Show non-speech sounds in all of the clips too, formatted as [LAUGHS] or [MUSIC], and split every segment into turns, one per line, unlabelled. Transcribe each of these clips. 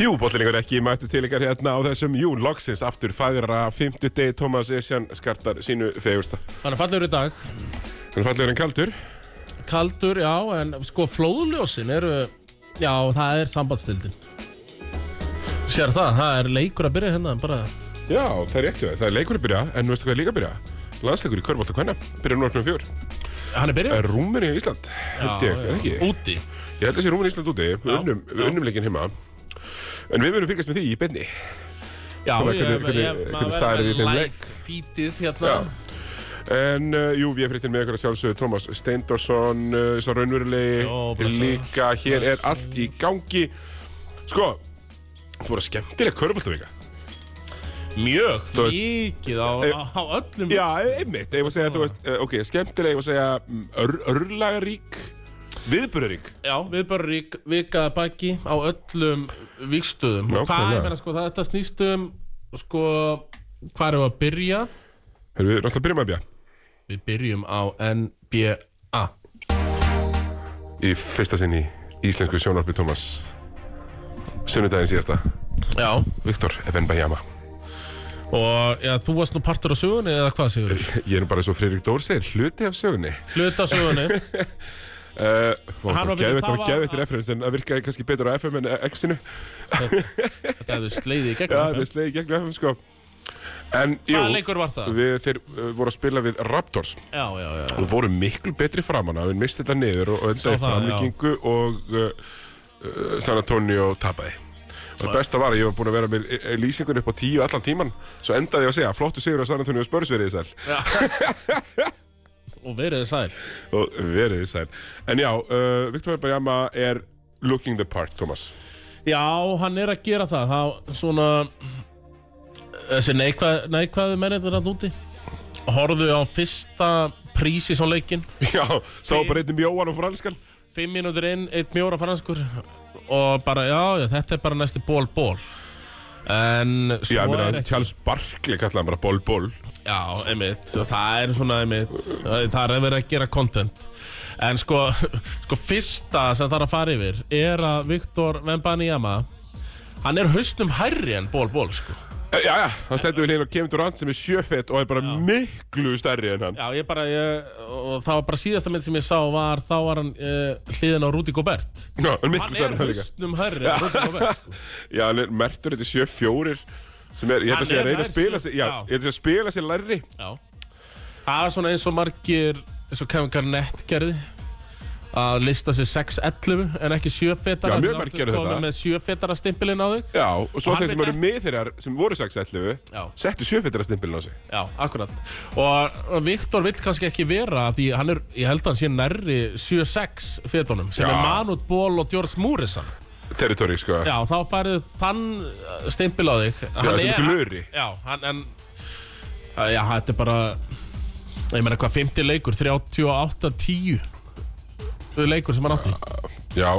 Jú, bóttlingar ekki mættu til ykkar hérna á þessum Jún Loksins aftur fagra 50 degi Tómas Esjan skartar sínu fegursta.
Þannig að fallegur í dag
Þannig fallegur en kaldur.
Kaldur, já, en sko flóðljósin eru Já, það er sambandstildin Sér það, það er leikur að byrja hérna bara.
Já, það er ekki það. Það er leikur að byrja, en nú veistu hvað er líka að byrja? Landsleikur í Körbólt og Kvenna. Byrja nú orknum fjör.
Hann er byrjað
Rúmeni í Ísland, held ég, er ekki?
Úti
Ég held að sé Rúmeni í Ísland úti. Við
Já,
unnum, við
já.
unnum leikinn heima. En við verðum fylgjast með því í beinni.
Já,
Svona,
ég-
hvernig- hvernig-
ég- maður
hvernig
verður
staðir
með
í þeim leik?
Live feedið hérna
Já. En uh, jú, við erum fréttin með ykkur að sjálfsögðu Tómas Steindorsson, uh, svo raunverulegi,
Jó, blessaður.
líka hér er allt í gangi. Sko, þú voru skemmtilega körbóltavika.
Mjög
Þú veist-
mikið á,
Eh,
á, á öllum
Já, einmitt, ég var að segja, þú veist, uh, ok, skemmtilega, ég var að segja mm, ör, örlagarík, viðburðarík.
Já, við bara rík, vikaði baki á öllum vikstöðum og hvað,
Nákvæmlega.
ég meina sko, það- þetta snýst um sko, hvað erum við að byrja
Erum við náttúrulega byrjum að byrja?
við byrjum á NBA
Í fyrsta sinn í íslensku sjónarpi Tómas, sunnudaginn síðasta,
Já,
Viktor Ebenbayama.
og já, þú varst nú partur á sögunni eða hvað sigur
[LAUGHS] Ég er nú bara svo Friðrik Dór segir, hluti af sögunni.
hluta af sögunni,
Uh, vá, það var
Hann var byrjuð-
geðveitt,
það
það var
var-
geðveitt referens en það virkaði kannski betur á FM en X-inu Já,
þetta hefðu sleiðið í
það
gegnum
er slegið gegnum FM sko En jú,
Hvað leikur var það?
við, þeir uh, voru að spila við Raptors
Já, já, já,
og voru miklu betri framan að við misti þetta niður og og
Sá
endaði í
það,
framlíkingu og uh, uh, San Antonio tapaði Og það besta var að ég var búin að vera með eh, lýsingunni upp á tíu allan tíman Svo endaði ég að segja, flottu sigur á San Antonio Spurs verið þið sæl
og verið þið sæl
Og verið þið sæl En já, uh, Viktor Bajama er looking the part, Thomas [LAUGHS]
Já, hann er að gera það Það svona Þessi neikvað, neikvaðu mennendur hann úti Horðu á fyrsta prísi svo leikinn
Já, sá bara einnig mjóan og franskan
Fimm mínútur inn, eitt mjóra franskur Og bara, já, já, þetta er bara næsti ból-ból En svo
Já, ég
er
meina,
ekki
Charles Barkley kallaði hann bara Ból Ból
Já, einmitt, og það er svona einmitt Það er verið að gera content En sko, [LAUGHS] sko fyrsta sem það er að fara yfir Er að Viktor Vembanyama Hann er hausnum hærri en ból-ból sko.
Eh, Já, já, hann stendur við hérna og kemur Durant sem er sjöfett og er bara miklu stærri en hann
Já, ég bara, ég, og það var bara síðasta mynd sem ég sá var, þá var hann uh, hliðin á Rúti Gobert.
Já, hann er miklu
Hann
stærri
er
en hann líka
hustnum hærri en Rúti Gobert, sko.
Já, hann er mertur, þetta er sjöfjórir sem er, ég held að
Hann
segja,
er
að reyna að
nær
spila
sjö-
sig Já,
já.
ég held að segja að spila sig lærri
Já. Það er svona eins og margir, eins og Kevin Garnett gerði, að lista sig 6-11 en ekki 7 fetara.
Já, mjög margir gerðu þetta.
Komið með 7 fetara stimpilinn á þig.
Já, og svo
Og hann
þeir sem
vill
eru með þeirra sem voru 6-11
Já.
settu sjöfettara stimpilin á sig
Já, akkurat. Og og Viktor vill kannski ekki vera af því hann er, ég held að hann sé nærri 7-6 fetunum
Já.
sem er Manut Ból og George Múrisan.
Territory, sko
Já, þá færið þann uh, stimpil á þig Hann
sem
er-
ykkur lögri.
Já, hann, en að, Já, þetta er bara Ég meina hvað, 50 leikur, 38-10 Þau leikur sem hann átti
Já,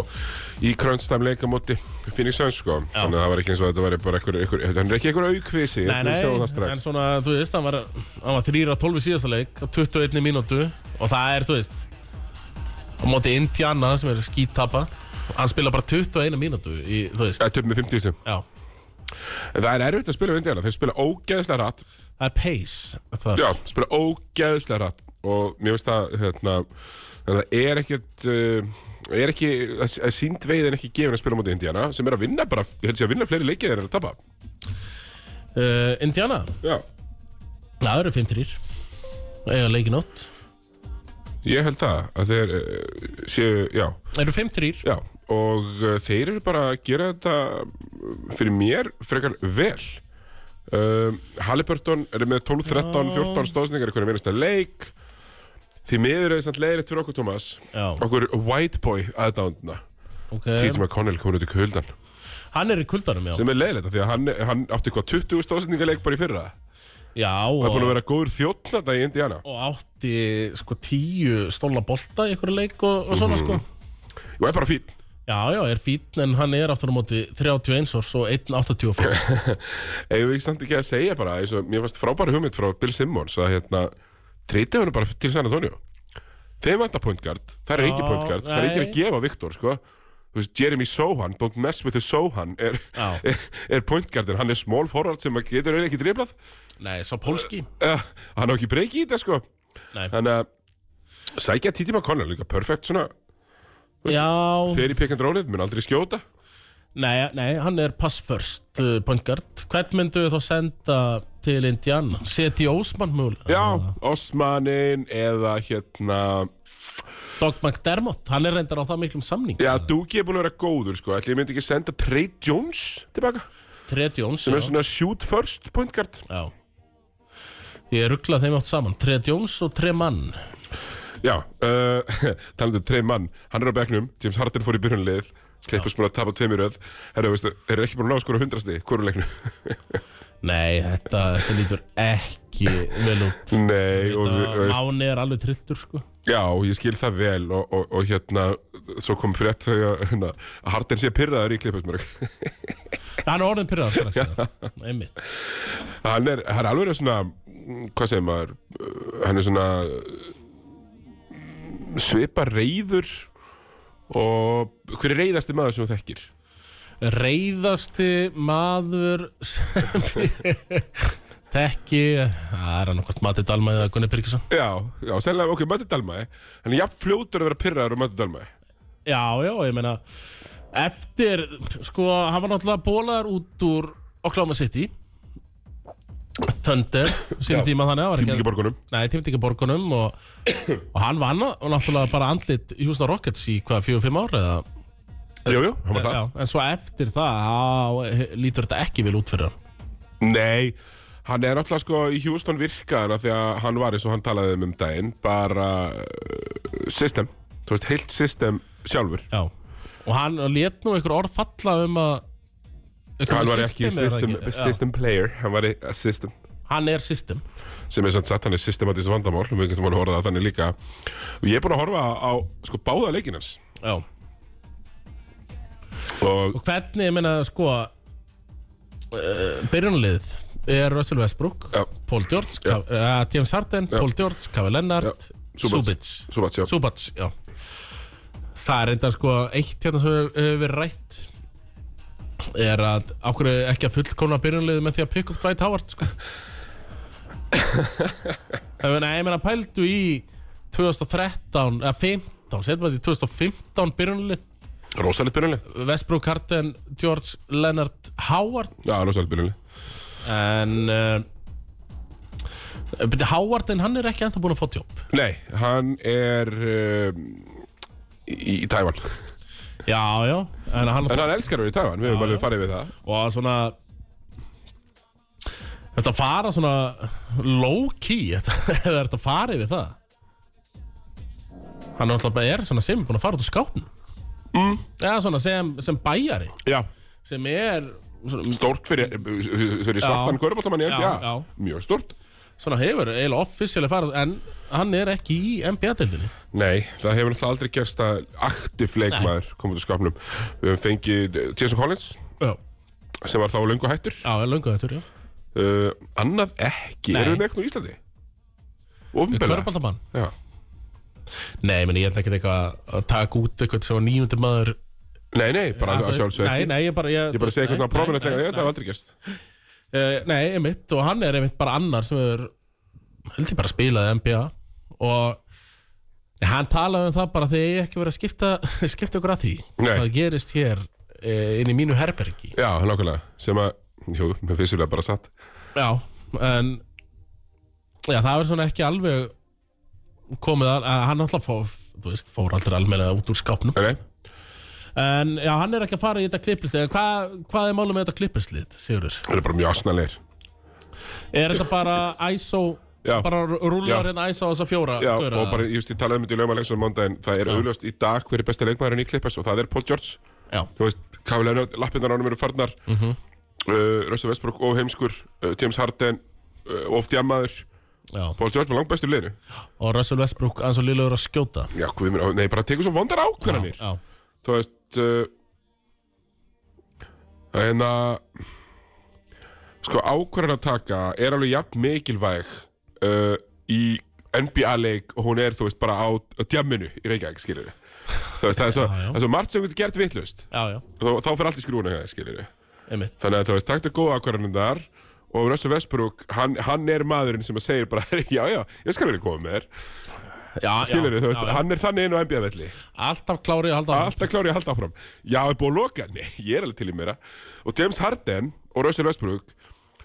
í crunch time leika móti Phoenix Suns, sko Þannig að það var ekki eins og þetta var bara einhver, einhver, hann er ekki einhver aukvisi Við sjáum það
en
strax
svona, þú veist, hann var, hann var 3-12 í síðasta leik á 21 mínútu og það er, þú veist á móti Indiana sem er skítapa hann spila bara 21 mínútu í, þú veist,
Þetta er með 50 stum
já
En það er erfitt að spila við Indiana, þeir spila ógeðslega rætt
það er pace það,
Já, spila ógeðslega rætt og mér finnst það, hérna þannig að það er ekkert uh, er ekki, það er sínd veiðin ekki gefin að spila mútið Indiana, sem er að vinna bara ég held sé að vinna fleiri leikið þeir að tapa
uh, Indiana,
Já,
það eru 5-3 eiga leikin átt
ég held það að þeir uh, séu, já,
Það eru 5-3
já og uh, þeir eru bara að gera þetta uh, fyrir mér frekar vel um, Halliburton er með 12, 13, 14 stóðsningar í hvernig minnast að leik Því miður er þessant leiðilegt fyrir okkur, Thomas
Já,
okkur white boy aðdánduna
ok
Tíð sem að Connell komur út í kuldan
Hann er í kuldanum, já
sem er leiðilegt af því að hann, hann átti hvað 20 stóðsendingarleik bara í fyrra
Já,
og er búin að
og,
vera góður þjóttnanda í Indiana
og átti sko 10 stóla bolta í einhverju leik og, og svona
Mhm.
sko
og er bara fín
Já, já, er fínn en hann er aftur á móti 31 árs og 1.84
[LAUGHS] Eða við ekki samt ekki að segja bara eins og mér fannst frábæri hugmynd frá Bill Simmons að hérna treytið hann bara til San Antonio þeim vantar point guard, það er
Já,
engin point guard það er engin að
nei.
gefa Viktor sko Þú veist, Jeremy Sohan, don't mess with the Sohan er,
Já.
er, [LAUGHS] er point guardin, hann er small forward sem að getur eiginlega ekki driflað
Nei, sá Pólski
uh, hann á ekki breyki í þetta sko
Nei.
þannig að sækja Titi McConnell líka perfekt svona
Já,
þegar í pick and rollið, mun aldrei skjóta
nei, nei, hann er pass first uh, point guard Hvern myndu þá senda til Indiana? Seti Ósmann mögulega
já, Osmanin eða hérna
Doug McDermott, hann er reyndar á það miklum samning
já, Dugi er búin að vera góður sko ætli ég myndi ekki senda Trey Jones tilbaka
Trey Jones
sem
já.
er svona shoot first point guard
já Ég ruggla þeim átt saman, Trey Jones og Trey Mann
já, uh, [LAUGHS] talandu Trey Mann hann er á bekknum, James Harden fór í byrjunlið Klippus búin að tapa tveimur öð herru, veistu, þeir eru ekki búin að ná skora hundrasti hverjuleiknu
Nei, þetta, þetta lítur ekki vel út
[LAUGHS] nei, og, og,
Þetta-
og
Máni er alveg trilltur sko
Já, ég skil það vel og, og, og hérna, svo kom frétt þau að hérna, að Harden sé pyrraður í klippusmörg.
Hann er orðin pyrrað strax já. sko, Einmitt
[LAUGHS] hann er, hann er alveg verið svona, mm, hvað segir maður, uh, hann er svona uh, svipa reyður og hver er reyðasti maður sem þú þekkir?
Reyðasti maður sem [LAUGHS] ég Tekki Það er hann hvort Mati Dalma eða Gunni Pirkesson
Já, já, sennilega, ok, Matti Dalmæði, hann er jafn fljótur að vera pyrraður og Matti Dalmæði.
Já, já, ég meina Eftir, sko, hann var náttúrulega bólaður út úr Oklahoma City Thunder Sýnum
Já.
tíma þannig að var
Tímlingi borgunum.
Nei, tímendingaborgunum og, og hann vann og náttúrulega bara andlit Houston Rockets í hvað, 4-5 ár eða
Jú, jú, hann var það.
Já, en svo eftir það á, lítur þetta ekki vel út fyrir hann
Nei, hann er náttúrulega sko í Houston virkaðan af því að hann var eins og hann talaði um um daginn bara uh, system, þú veist, heilt system sjálfur
Já, og hann let nú einhver orð falla um að eitthvað
hann var
með
ekki
system eða
system,
ekki? Já,
system player hann var í- a system
Hann er system
sem er samt satt hann er systematist vandamál og við getum hann að horfa það þannig líka og ég er búin að horfa á sko báða leikinn hans
Já,
og
og hvernig, ég meina, sko uh, byrjunarliðið er Russell Westbrook
Já.
Paul George, ja. uh, James Harden Paul George, Kawhi Leonard
Já. Subats.
Subic
svo vatn sjá
Subats, já Það er reyndar sko eitt hérna sem hefur hefur verið rætt er að okkur ekki að fullkomna byrjunliðið með því að pick up Dwight Howard sko. Það meina, ég meina pældu í 2013, eða 15 setjum við þetta í 2015 byrjunlið
rosalit byrjunli
Westbrook, Harden, George, Leonard, Howard
já, rosalit byrjunli
en uh, byrja, Howard en hann er ekki ennþá búin að fá jobb
nei, hann er um, í, í Tævan
já, já en hann,
en hann elskar að vera í Tævan, við höfum alveg farið við það
og að svona þetta fara svona low key [LAUGHS] eða þetta fara yfir það hann er alltaf bara er svona sem er búin að fara út á skápn mm. eða svona sem, sem bæjari
já
sem er svona,
Stort fyrir, fyrir svartan kvöruboltamann já,
Já,
já,
já.
mjög stort
svona hefur eiginlega offisíali farað en hann er ekki í NBA-deildinni
Nei, það hefur náttúrulega aldrei gerst að aktiv leikmaður koma út úr skapnum Við höfum fengið eh, Jason Collins
já,
sem var þá löngu hættur
já, er löngu þetta, já
uh, Annað ekki,
Nei.
erum við með eitthvað í Íslandi? Ofnbæla
Körbáltamann?
Já,
Nei, menn ég ætla ekki eitthvað að taka út eitthvað sem var nýjöndir maður
Nei, nei, bara
þú
að
veist,
sjálfsög
Nei,
ekki
nei, ég bara Ég,
Ég bara segi eitthvað svona prominent þegar þetta hefur aldrei gerst
Uh, nei, einmitt, og hann er einmitt bara annar sem er, held ég bara spilaði NBA og Nei, hann talaði um það bara þegar ég ekki verið að skipta [LAUGHS] skipta ykkur að því
Nei.
það gerist hér uh, inn í mínu herbergi
Já, nákvæmlega, sem að, jú, með vissulega bara satt
Já, en já, það er svona ekki alveg komið að, að hann alltaf fór, þú veist, fór aldrei almenna út úr skápnum
Nei,
En já, hann er ekki að fara í þetta klippislið En Hvað, hvað er málum með þetta klippislið, Sigurður?
það er bara mjög asnalegir
Er þetta bara ISO
Já.
Bara rúlar
Já.
hérna ISO þessa fjóra
Já,
gaura?
og bara, just, ég talaði um þetta í lögumalegs á mándaginn, það er augljóst í dag hver er besti leikmaðurinn í Klippers og það er Paul George
Já,
þú veist, Kawhi Leonard, lappinnar ánum eru farnar mm
Mhm.
-hmm. uh, Russell Westbrook og heimskur uh, James Harden uh, of djamaður,
já
Paul George með langt bestu liðinu
Og Russell Westbrook eins og Lillegur að skjóta
Já, hvað minn, nei, bara tekur svo vondar ákvarðanir
Já,
Þú veist uh, hérna, En að sko ákvarðan að taka er alveg jafn mikilvæg uh, í NBA-leik og hún er, þú veist, bara á, á djamminu í Reykjavík, skilur við. Þú veist, það er svo,
Já, já.
það er svo margt sem getur gert vittlust
Já, já,
og þá fyrir allt í skrúna hér, skilur við.
einmitt
Þannig að þú veist, takk til góða ákvarðanum þar og Russell Westbrook, hann, hann er maðurinn sem að segir bara, [LAUGHS] já, já, ég skal verið koma með þér,
já,
skilur
já,
þú veist,
já, já.
hann er þannig inn á NBA-velli.
Alltaf klárið að halda áfram.
Alltaf klári að halda áfram Já, er búið að loka? Nei, [LAUGHS] ég er alveg til í meira Og James Harden og Russell Westbrook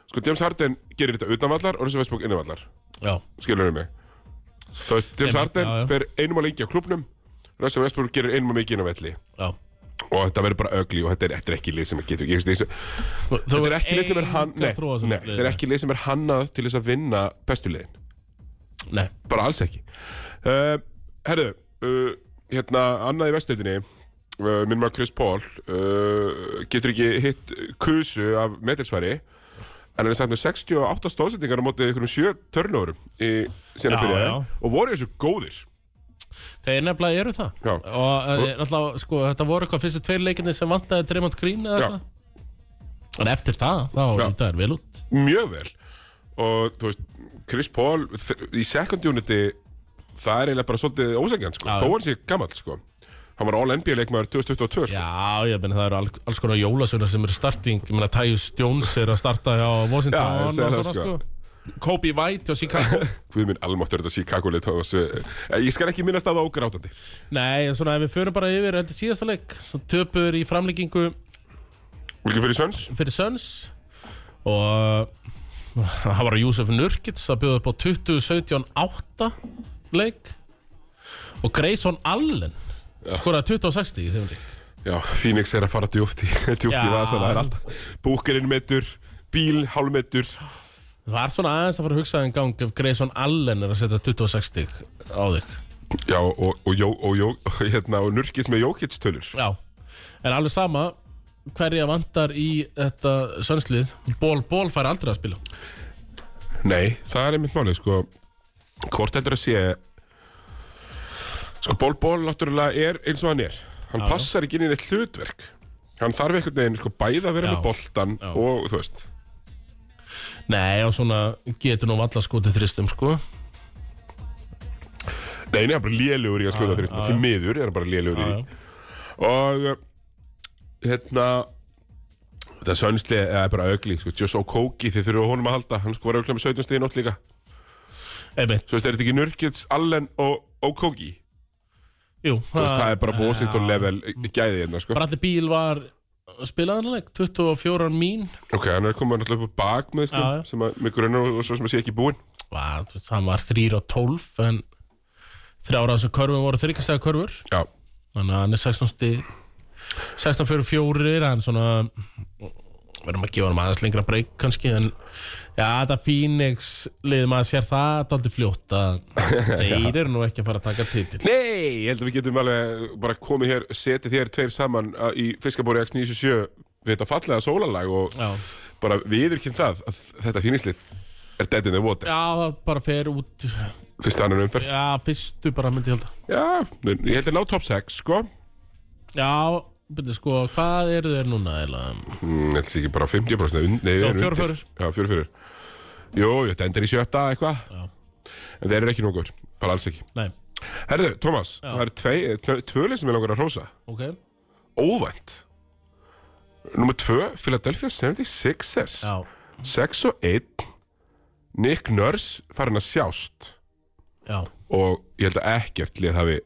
Sko, James Harden gerir þetta utanvallar og Russell Westbrook innanvallar
Já,
Skilur þau mig? Þú veist, James
Einmitt,
Harden
já, já.
fer einum að lengi á klubnum Russell Westbrook gerir einum að mikið inn á velli
já
Og þetta verður bara ögli og þetta er, þetta er ekki lið sem að getur Ég veist, þessu-
Þú- þú
þetta
hefur
er ekki lið sem er
enga
hann Nei,
trú á þessu
nei,
liði.
þetta er ekki lið sem er hannað til þess að vinna bestulegin
Nei,
bara alls ekki uh, Herðu, uh, hérna annað í vestöldinni uh, minn maður Chris Paul uh, getur ekki hitt kusu af metilsværi en hann er samt með 68 stóðsendingar á mótið einhvernum sjö törnórum í síðan
Já,
að byrja
já.
og voru þessu góðir
þeir nefnilega eru það
Já.
Og eh, náttúrulega, sko, þetta voru eitthvað fyrstu tveir leikinni sem vantaði Tremont Green eða
Já.
eitthvað En eftir það, þá
Já.
líta er vel út
mjög vel og þú veist, Chris Paul þ- í second unity það er eiginlega bara svolítið ósækjan sko.
Já, já.
þó hann sé gammal sko. hann var all-NBA leikmaður 2022 sko.
Já, ég meina það eru all, alls konar jólasögnar sem eru starting Ég meina Tyus Jones er að starta hjá
Já, ég
Washington
segi
og
það,
svona
sko.
sko Kobe White og Chicago
[LAUGHS] Guð minn almáttur þetta Chicago-lið Thomas. eh, Ég skal ekki minnast að það ógrátandi
Nei, en svona ef við förum bara yfir heldur síðasta leik Svo töpur í framlíkingu
Vilkið fyrir Söns?
fyrir Söns Og það var Júsef Nurkits að bjóða upp á 20-17-8 leik Og Grayson Allen skoraði 26 í þeim leik
Já, Phoenix er að fara djúft í, [LAUGHS] djúft í
Já.
vasana Það er alltaf búkirinn metur, bíl hálmetur
Það er svona aðeins að fara að hugsa en gang ef Grayson Allen er að setja 26 stig á þig
Já, og, og, og, og, Jó- [LAUGHS] og, hérna, og nurkis með jókitstölur
Já, en alveg sama hverja vantar í þetta sönslið Ból Ból fær aldrei að spila
Nei, það er einmitt málið, sko Hvort heldur að sé Sko, Ból Ból náttúrulega er eins og hann er Hann
Já, já.
passar ekki inn í neitt hlutverk Hann þarf einhvern veginn, sko, bæði að vera
Já.
með boltan
Já.
og, þú veist
Nei, og svona getur nú valla skotið þristum sko
Nei, nei, hann er bara lélugur í að skjóta
Já,
þrýstum
já,
Því miður er hann bara lélugur í því
Já, já.
og uh, hérna þetta sönnsli er bara ögli sko, Joss Okoki þið þurfum honum að halda hann sko var öglega með 17 stíði nótt líka
Einmitt,
svo veist, er þetta ekki Nurkic, Allen og Okoki
jú
þú veist, það er bara Washington
Já.
level gæði hérna sko
Bradley Beal var spilaðanleik 24 mín
ok, hann er komið náttúrulega upp á bak með
Já, já.
þessum sem að mig grunar og, og svo sem að sé ekki búinn
Vá, þú veist, hann var 3 og 12 en þrjára þessum körfum voru þryggjastega körfur
já,
þannig að hann er 16 stig 16 fyrir fjórir en svona verðum að gefa hann aðeins lengra breyk kannski en já þetta Phoenix lið maður sér það daldi fljótt [LAUGHS] að þeir eru nú ekki að fara að taka titil
nei, ég held að við getum alveg bara komið hér, setið þér tveir saman uh, í Fiskabóri X97 við þetta fallega sólalag og
já,
bara viðurkynnt það að þetta fínislið er dead in the water
já það bara fer út
fyrst annan umferð
já fyrstu bara myndi ég halda
Já, ég held að ná top 6 sko
já byrju sko hvað eru þeir núna eiginlega?
mm, Ég held sér ekki bara 50% und, nei, þeir
Já,
eru
fjórir,
undir.
fjórir.
Já, fjóri fjórir Jú, jú, þetta endur í sjötta eitthvað
Já.
En þeir eru ekki nokkur, bara alls ekki
nei
Herðu, Tómas, það eru tvei, tvö, tvö leið sem ég langar að hrósa
ok
Óvænt Númer 2, Philadelphia 76ers
já
6 og 1 Nick Nurse farin að sjást
já
og ég held að ekkert lið hafi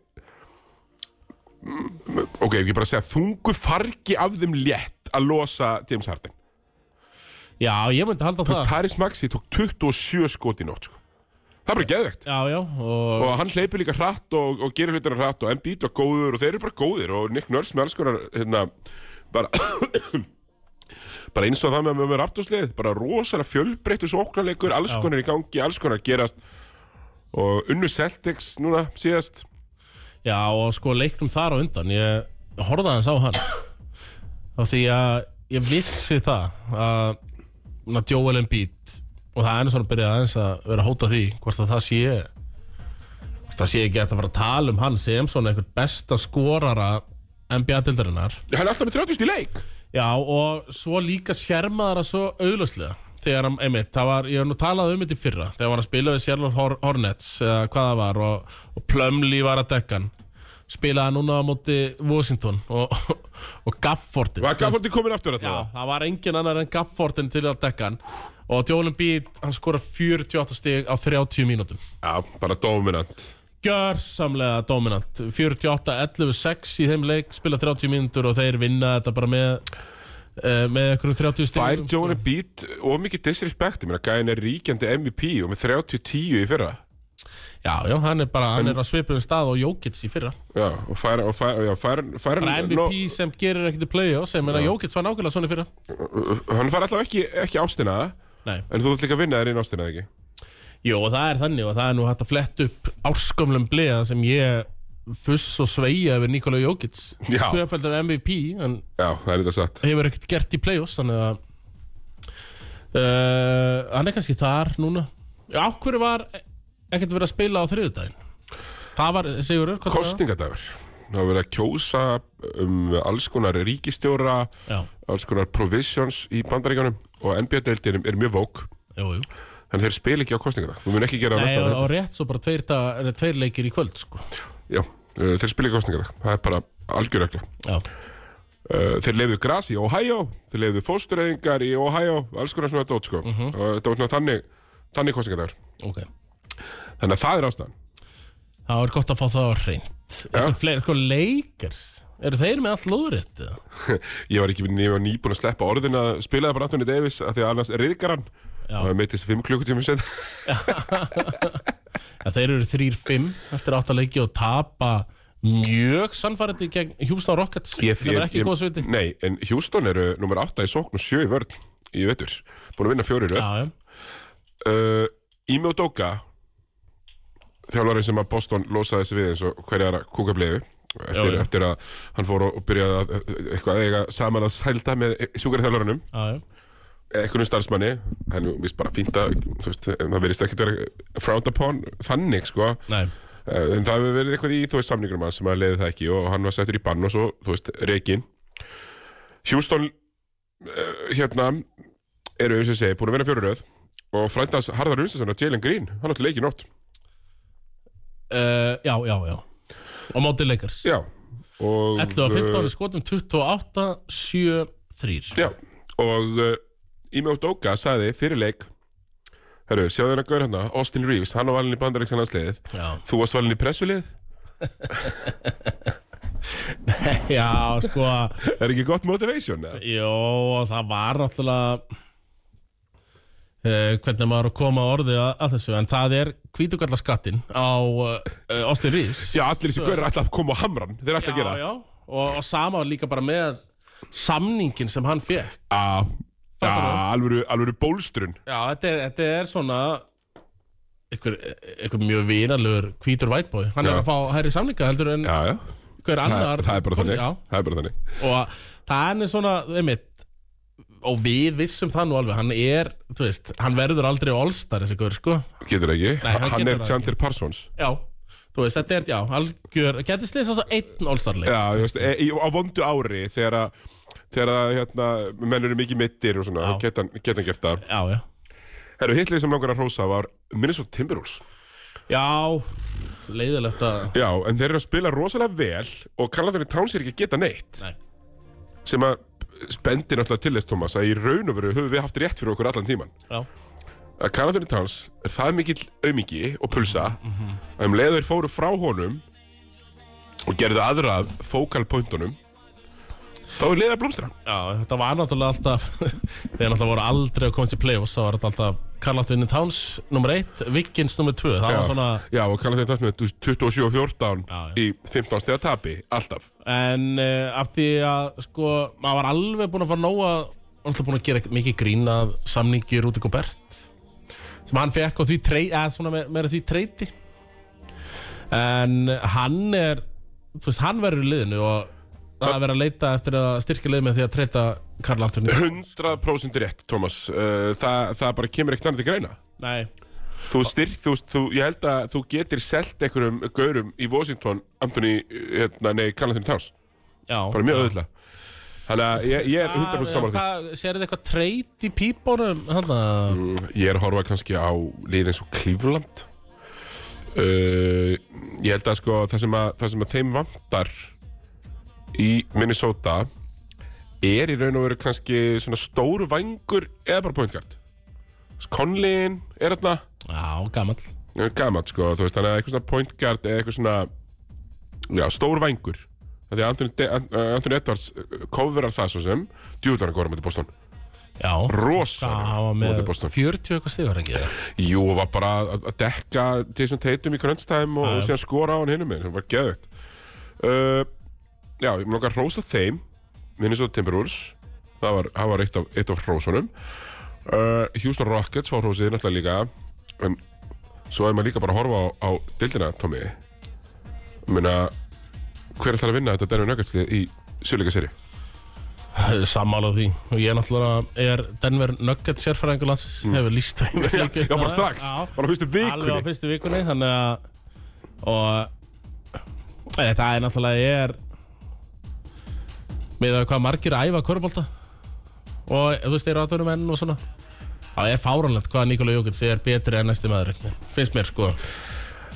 Mm, ok, ef ég bara segja þungu fargi af þeim létt að losa James Harden
já ég myndi halda
Þú veist,
það
Taris Maxi tók 27 skot í nótt sko. það er bara geðvegt
já já og
og hann hleypur líka hratt og, og gerir hlutina hratt og Embiid var góður og þeir eru bara góðir og Nick Nurse með alls konar hérna, bara [COUGHS] bara eins og það með, með, með raptorslið bara rosalega fjölbreyttu sóknarleikur alls
Já.
konar í gangi, alls konar gerast og unnu Celtics núna síðast
Já og sko leiknum þar á undan Ég horfði aðeins á hann Af því að ég vissi það Að na, Joel Embiid Og það er enn svona byrjað aðeins að vera að hóta því Hvort að það sé hvort Það sé ekki hægt að fara að tala um hann Sem svona einhvern besta skorara NBA-dildarinnar
hann er alltaf með 30 í leik
Já og svo líka sjermaðara svo auðlöslega þegar hann, einmitt, það var, ég hef nú talað um þetta í fyrra þegar hann var að spila við Sherlock Hor Hornets eða hvað það var og, og Plumlee var að dekka hann spilaði hann núna á móti Washington og, [LAUGHS] og Gaffordi
Var Gaffordi komin aftur alltaf?
Já, það var engin annar en Gaffordin til að dekka hann og Jólin Bít, hann skora 48 stig á 30 mínútum
Já, bara dominant
gjörsamlega dominant 48-11-6 í þeim leik spila 30 mínútur og þeir vinna þetta bara með eh, með einhverjum 30
Fær
stigum
Jóni Beat of mikið disrespect Mér að gæðin er ríkjandi MVP og með 30-10 í fyrra
já, já, hann er bara, hann er á svipum stað og Jókits í fyrra
Já, og fær, og fær, já, fær, fær
bara
hann-
MVP sem gerir ekkert í play-offs ég meina Jókits var nákvæmlega svona í fyrra
nó- Hann fær alltaf ekki, ekki ástina
nei,
En þú vilt líka vinna þér inn ástina, eða ekki?
jú, og það er þannig og það er nú hægt að fletta upp árskömmlum bleða sem ég fuss og sveia yfir Nikola Jókits
Já.
tvöfaldum MVP, en
Já, það er þetta satt
hefur ekkert gert í play-offs þannig að uh, hann er kannski þar núna Já, af hverju var ekkert verið að spila á þriðudaginn það var, segjur hvað það
Kostningadagur Það var verið að kjósa um alls konar ríkistjóra
var?
Alls konar provisions í bandaríkanum Og NBA-deildin er mjög vók
Já, jú, jú
Þannig þeir spila ekki á kostningadag Þú mun ekki gera
Nei,
næsta
og,
ári.
og rétt svo bara tveir, dag, eh, tveir leikir í kvöld sko.
Já, uh, þeir spila ekki á kostningadag Það er bara algjöröglega
Já,
Uh, þeir lefðu gras í Ohio, þeir lefðu fóstureyðingar í Ohio, alls konar svona dót sko.
Mhm.
Og þetta var svona þannig, þannig kostningadagur.
ok
Þannig að það er ástæðan.
Það var gott að fá það á reynd Fleiri, sko, leikers Eru þeir með allt lóðrétt? eða?
Ég var ekki ég var nýbúin að sleppa orðin að spilaði bara Anthony Davis af því að annars reyðgar hann
Já.
og það meittist fimm klukkutími sen.
Ja, þeir eru 3-5 eftir átta leiki og tapa mjög sannfærandi gegn Hjúsna Rockets sem er ekki góð sviti
Nei, en Houston eru nummer 8 í sókn og 7 í vörn í vettur. Búin að vinna fjóri röð.
Já, já
Uh, Ími og Dóka, þjálfarinn sem að Boston losaði sig við eins og hverjar kúkabliðu eftir,
Já, já.
eftir að hann fór og og byrjaði að eh, eitthvað eiga saman að sælda með sjúkarþjálfarunum
Já, já.
eða einhvernum starfsmanni það er nú vist bara fínt að þú veist, það verðist ekkert vera frowned upon þannig sko
Nei,
Eh, en það hefur verið eitthvað í þú veist samningurum hans sem að leiði það ekki og hann var settur í bann og svo þú veist reikin Hjústón hérna eru eins og ég segi búin að vinna fjóruröð og frændans Harðar Unsason og Jalen Green hann átti leikið nótt
uh, já, já, já Á móti leikars
já og
11 og 15
eh,
í skotum 28, 7, 3
já og uh, Ími Ódóka sagði fyrir leik herru sjáðu hann að gaur hann Austin Reeves hann var valin í bandaríksanlandsliðið
Já,
þú varst valin í pressulið
já sko
er ekki gott motivation eða?
Jó, og það var náttúrulega uh, Hvernig maður á að koma að orði að, að þessu En það er hvítugalla skattin á uh, Austin Reeves
já allir þessi gaur ætla að koma á hamran þeir ætla að gera
já og, og sama líka bara með samningin sem hann fekk
Já, já
Fattar þú?
alvöru, alvöru bólstrun
Já, þetta er, þetta er svona einhver, einhver mjög vinalur hvítur white boy Hann
Já.
er að fá hærri samlinga heldur en
Já, já,
hver
það,
annar
það er bara þannig
Já,
Það er bara þannig
og það er svona, einmitt og við vissum það nú alveg hann er, þú veist, hann verður aldrei allstar þessi gaur, sko
Getur það ekki,
hann
hann
getur
er
það
Chandler Parsons
Já, þú veist, þetta er, já, algjör getur slýsast á einn allstarleik
Já, þú veist, e, í- á vondu ári þegar að þegar að hérna, menn eru mikið mittir og svona,
Já.
geta hann geta hann gert það
Já, já
Herru, hitlið sem langar að hrósa var Minnesota Timberwolves
Já, leiðilegt að
Já, en þeir eru að spila rosalega vel og kalla þeirri Towns er ekki að geta neitt
Nei.
sem að spendi náttúrulega til þess, Thomas, að í raun og veru höfum við haft rétt fyrir okkur allan tíman
Já,
að Karl Anthony Towns er það mikill aumingi og pulsa að um leiður fóru frá honum og gerðu aðra að fókalpöntunum þá er leiða blómstra
já, þetta var náttúrulega alltaf [LAUGHS] þegar náttúrulega voru aldrei að koma til play-offs þá var þetta alltaf Karl-Anthony Towns nummer 1, Vikings nummer 2 það var svona
já, og Karl Anthony Towns með 27 og 14
Já, já.
í 15 stega tapi, alltaf
En uh, af því að sko, maður var alveg búinn að fara nóga alltaf búinn að gera mikið grín að samningi Rúti Gobert sem hann fekk og því treyti eða svona með, með því treyti en hann er þú veist, hann verður í liðinu og það er verið að leita eftir að styrkja lið með því að treyta Karl Antoni
100% rétt, Thomas uh, það, það bara kemur ekkert annað til greina
Nei, Ah.
þú styrk, þú, þú, ég held að þú getir selt einhverjum gaurum í Washington Anthony, hérna, nei, Karl Anthony Towns
já
bara mjög öðvitað Þannig að ég, ég er 100% saman því.
Serðu eitthvað treyt í pípunum? Hanna,
Ég er að horfa kannski á liðið eins og Cleveland. Uh, ég held að sko það sem að, það sem að þeim vantar í Minnesota er í raun og veru kannski svona stóru vangur eða bara point guard. Conlin er þarna
já, gamall
er gammalt sko, þú veist, þannig að eitthvað svona point guard eða eitthvað svona já, stór vængur Af því að Anthony, De An- uh, Anthony Edwards uh, coverar það svo sem djúðar hann góður á móti Boston
Já,
rosalega
það var
á
með
móti Boston
40 eitthvað stigur ekki
Jú, og var bara að- að dekka til þessum teitum í krönstæðum og, og síðan skora á hann hinum minn, það var geðvægt uh, Já, ég mér langar að hrósa þeim Minnesota Timberwolves það var, það var eitt af, eitt af hrósunum uh, Houston Rockets fá hrósið náttúrulega líka en svo er maður líka bara að horfa á, á dildina, Tommy ég meina hver ætlar að vinna þetta Denver Nuggets lið í sjöleika seri?
Sammála því Og ég náttúrulega er Denver Nuggets sérfræðingur landsins Hefur líst þeim
Mm. [LAUGHS] Já,
leikinn
bara
þar.
strax,
Já.
bara á fyrstu vikunni
Alveg á fyrstu vikunni Þannig að Og e, Það er náttúrulega ég er Með að hvað margir að æfa korubólta Og e, þú veist, þeir aðvörum enn og svona Það er fáranlegt hvað Nikola Jókits er betri en næsti maður einhvern veginn. Finnst mér sko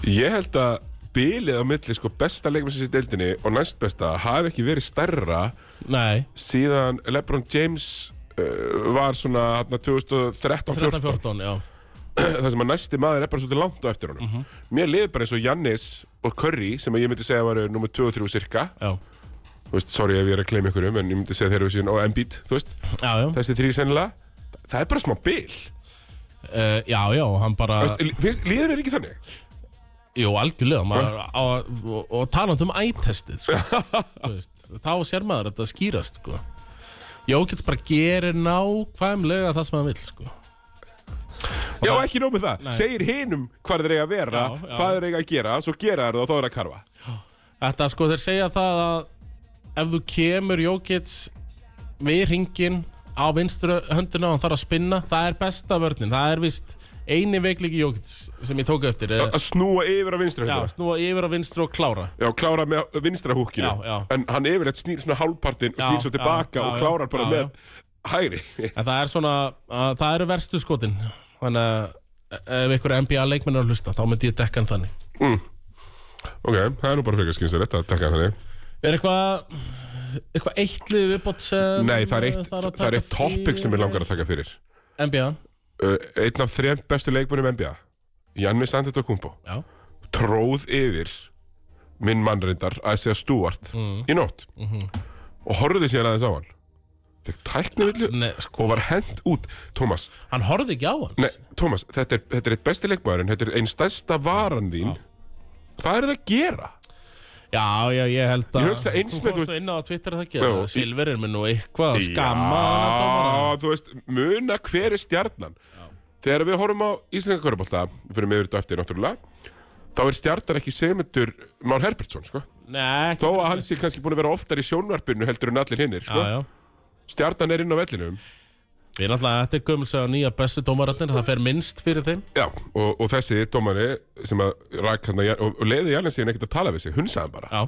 Ég held að bilið á milli sko besta leikmannsins í deildinni og næst besta hafi ekki verið stærra
Nei,
síðan LeBron James uh, var svona hérna 2013-14
13-14, já
þar sem að næsti maður er bara svolítið langt á eftir honum Mér liði bara eins og Jannis og Curry sem að ég myndi segja varu nummer 2 og 3 cirka
Já,
Þú veist, sorry ef ég er að gleyma ykkur um en ég myndi segja þeir eru síðan og Embiid, þú veist
já, já,
þessi þrý sennilega Þa- Það er bara smá bil
uh, já, já, hann bara
Þú veist, li- finnst- Líður er ekki þannig
Jú, algjörlega maður, á, og, og talandi um ættestið sko. Þú veist, þá sér maður að þetta skýrast sko. Jókits bara gerir nákvæmlega það sem hann vil sko.
Já, ekki nóg með það. Segir hinum hvað þeir eiga að vera,
Já, já.
hvað þeir eiga að gera, svo gera þeir það og þá er það að karfa.
Þetta sko þeir segja það að ef þú kemur Jókits við ringin á vinstru höndina og hann þarf að spinna það er besta vörnin, það er vist eini veikliki Jókits sem ég tók eftir er,
Að snúa yfir á vinstra
já,
höndina.
snúa yfir á vinstru og klára
Já, klára með uh, vinstra húkinu.
Já, já.
En hann yfirleitt snýr svona hálfpartinn og
Já,
snýr svo
já,
tilbaka
já,
og
já,
klárar bara
já,
með
já.
hægri.
En það er svona, að, það eru verstu skotin Þannig að e, ef ykkur NBA leikmenn er að hlusta, þá myndi ég dekka hann þannig
[LAUGHS] ok, það er nú bara frekar skynsilegt að taka þannig.
Er eitthvað eitthvað eitt lið viðbót sem
Nei, það er eitt,
eh, þarf að
það er
taka
eitt topic sem ég langar að taka fyrir.
fyrir? NBA,
Uh, einn af þrejum bestu leikmönnum NBA, Jannis Antetokounmpo,
já
tróð yfir minn mannreindar að segja Stuart
Mm.
í nótt
Mhm.
og horfði síðan aðeins á hann. Þegar tæknivillu
Nei, sko,
og var hent út Thomas,
hann horfði ekki á hann
nei, Thomas þetta, er, þetta er eitt besti leikmaðurinn, þetta er einn stærsta varan þín hvað er það að gera?
Já, já, ég held að
Ég hugsa eins með, þú
Þú
veist-
komst inn á Twitter að það
Já,
ekki
í-
að Silver er með nú eitthvað að skamma hann að dómara
Já, þú veist, muna hver er stjarnan þegar við horfum á Íslandinga Körbólta fyrir meður þetta eftir náttúrulega þá er stjarnan ekki segmendur Már Herbertsson, sko
Nei, ekki
þó að hann sé kannski búin að vera oftar í sjónvarpinu heldur en allir hinnir,
Já,
sko
já
stjarnan er inn á vellinum
Við náttúrulega, þetta er gömulsega nýja bestu dómaratnir Það fer minnst fyrir þeim
Já, og, og þessi dómari sem að rak hann og, og leiði Jarlins síðan ekkert að tala við sig, hunsaði hann bara
Já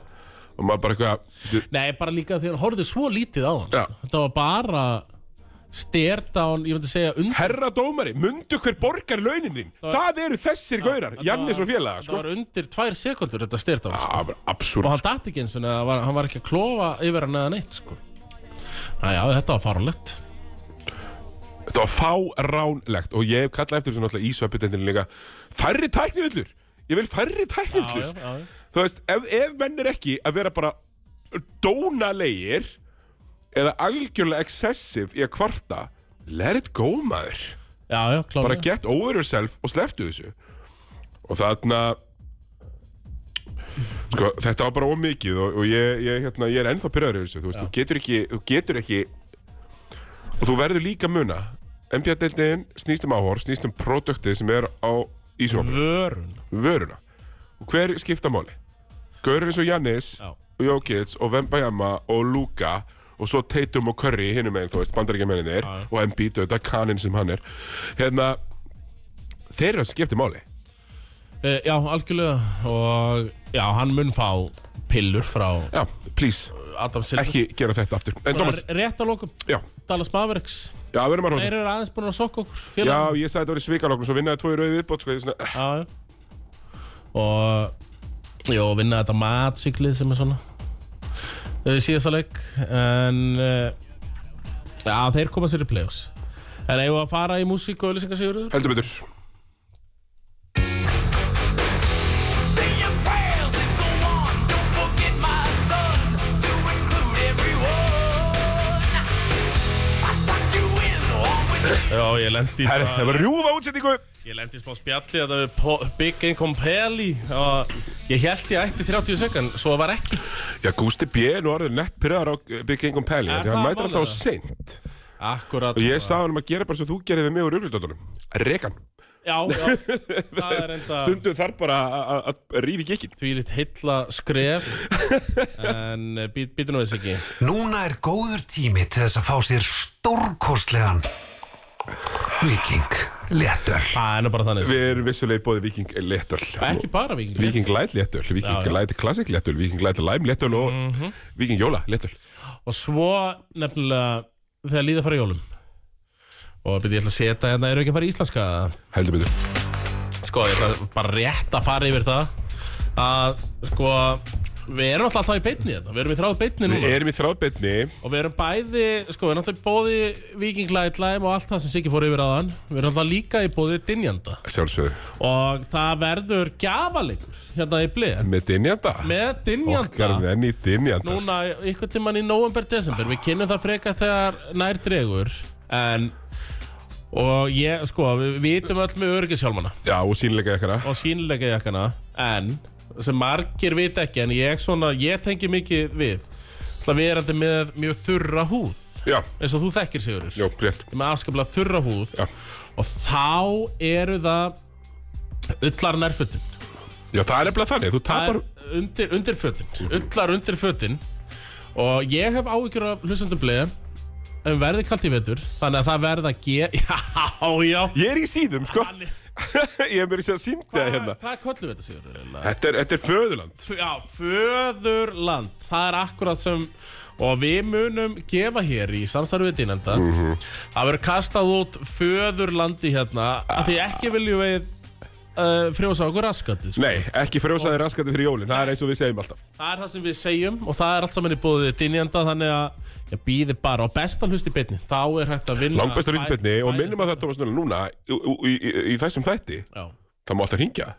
og maður bara eitthvað,
Nei, bara líka því hann horfði svo lítið á hann
Já.
sko. Þetta var bara styrdown, ég myndi segja undir,
Herra dómari, mundu hver borgar launin þín Það eru þessir gaurar, Jannis og félaga
það
sko. Ah,
var undir tvær sekundur þetta styrdown sko.
Það var
og
absúrt
hann datt ekki eins og neða, var, hann var ekki að klofa yfir hann eða neitt sko. Næja, þetta var farulegt
Þetta var fáránlegt Og ég hef kallað eftir þessu náttúrulega í sveppitendinu líka Færri tækniullur Ég vil færri tækniullur Þú veist, ef, ef menn er ekki að vera bara Dónalegir Eða algjörlega excessive í að kvarta Let it go maður
Já, já, klára
bara get over yourself og sleftu þessu og þarna sko, þetta var bara ómikið og, og ég, ég, hérna, ég er ennþá pyrraður yfir þessu, þú veist, þú getur ekki þú getur ekki og þú verður líka að muna NBA-deildin snýst um áhor, snýst um produktið sem er á ísjófnum,
Vörun
vöruna og hver skipta máli? Gaurið eins og Jannis
Já.
og Jókits og Vembayama og Luka og svo Tatum og Curry hinum meginn, þú veist, bandaríkja meginn þeir
Já, já.
og Embiid, þetta kaninn sem hann er hérna, þeir eru að skipta máli
e, Já, algjörlega og já, hann mun fá pillur frá
Já, please,
Adam Silver
ekki gera þetta aftur En Thomas,
Svona Rétt að lokum,
já,
Dallas Mavericks
já, við erum að
Þeir
hrósa
eru aðeins búin að sokka okkur
Já,
félagana.
ég sagði þetta var í svikalokkur, svo vinnaði tvoi rauði viðbót sko, ég svona, eh,
já, já. Og Jó, vinna þetta matsiklið sem er svona eh, Síðasta leik En eh, Já, þeir koma sér í play-offs En eigum við að fara í músík og öllisengar sigurður?
Heldur betur
Say your prayers, it's a one. Don't forget my son to include everyone. I tuck you in all with
Já, ég lendi
Herri, það var rjúfa útsetningu
Ég lendi í smá spjalli að það við po- Big Income Peli og ég held ég ætti 30 sekund, svo var ekki.
Já, Gústi B. er nú orðið nett pyrraðar á eh, Big Gang on Pally
Er
Þannig hann
það
mætir alltaf á
málið?
seint
Akkurat.
Og ég sagði hann að gera bara sem þú gerir við mig úr ruglutóttunum Rekan
Já, já,
[LAUGHS]
það er enda
Stundum þarf bara að- að- að rífi gikkin
því lít heilla skref, en eh, bý- býtum við þess ekki.
Núna er góður tími til þess að fá sér stórkostlegan Viking Léttöl
Það er nú bara þannig.
Við erum vissulega bóði Viking Léttöl
Ekki bara vikingur.
Viking Light Léttöl,
Já, Mhm.
Viking
já.
Light Classic Léttöl, Viking Light Lime Léttöl og Viking Jóla Léttöl
Og svo nefnilega þegar líða að fara í jólum. Og byrja ég ætla að setja hérna, eru ekki að fara í íslenska?
Heldur betur
Sko, ég ætla bara rétt að fara yfir það. Að, sko, við erum alltaf alltaf í beinni þetta. Við erum í þráð beinni núna.
Við erum í þráðbyrni
Og við erum bæði, sko, við erum alltaf í bóði Viking Light Lime og allt það sem Siggi fór yfir aðan. Við erum alltaf líka í bóði Dinjanda.
Sjálfsögðu
Og það verður gjafalegur hérna í blið.
Með dinjanda
Með Dinjanda.
Okkar venni dinjanda sko.
Núna, ykkur tíman í november, desember. Við kynum það freka þegar nær dregur. En, og ég, sko, við vitum öll með öryggishjálmana
Já, og sínleika ykkar
og sínleika jakkana. En, sem margir vita ekki, en ég svona, ég tengi mikið við. Það verandi með mjög þurra húð.
Já,
Eins og þú þekkir, Sigurður.
já, rétt
Ég er með afskaplega þurra húð
Já.
og þá eru það ullar nærfötin
Já, það er nefnilega þannig, þú
það
tapar
er undir, undir fötin ullar undir fötin og ég hef áhyggjur af hlustundum bleið en verði kalt í vetur þannig að það verða [LAUGHS] að gera já, já
Ég er í síðum, sko
Hann er-
[LAUGHS] Ég er mér í síðan síndið
hvað,
hérna
hvað köllum við þetta Sigurður? eiginlega?
Þetta er, þetta er föðuland
Já, föðurland það er akkurat sem og við munum gefa hér í samstarfið dýnenda það verður kastað út föðurlandi hérna af því ekki viljum við uh, frjósa okkur raskandi sko.
Nei, ekki frjósaði raskandi fyrir jólin Það er eins og við segjum alltaf
það er það sem við segjum og það er allt saman í búið dýnenda þannig að ég býði bara og besta hlust í bytni þá er hægt að vinna
Langbestur hlýsbyrni
bæ-
og
bæði-
minnum að þetta var svona núna í, í, í, í þessum þætti
Já.
Það má alltaf hringja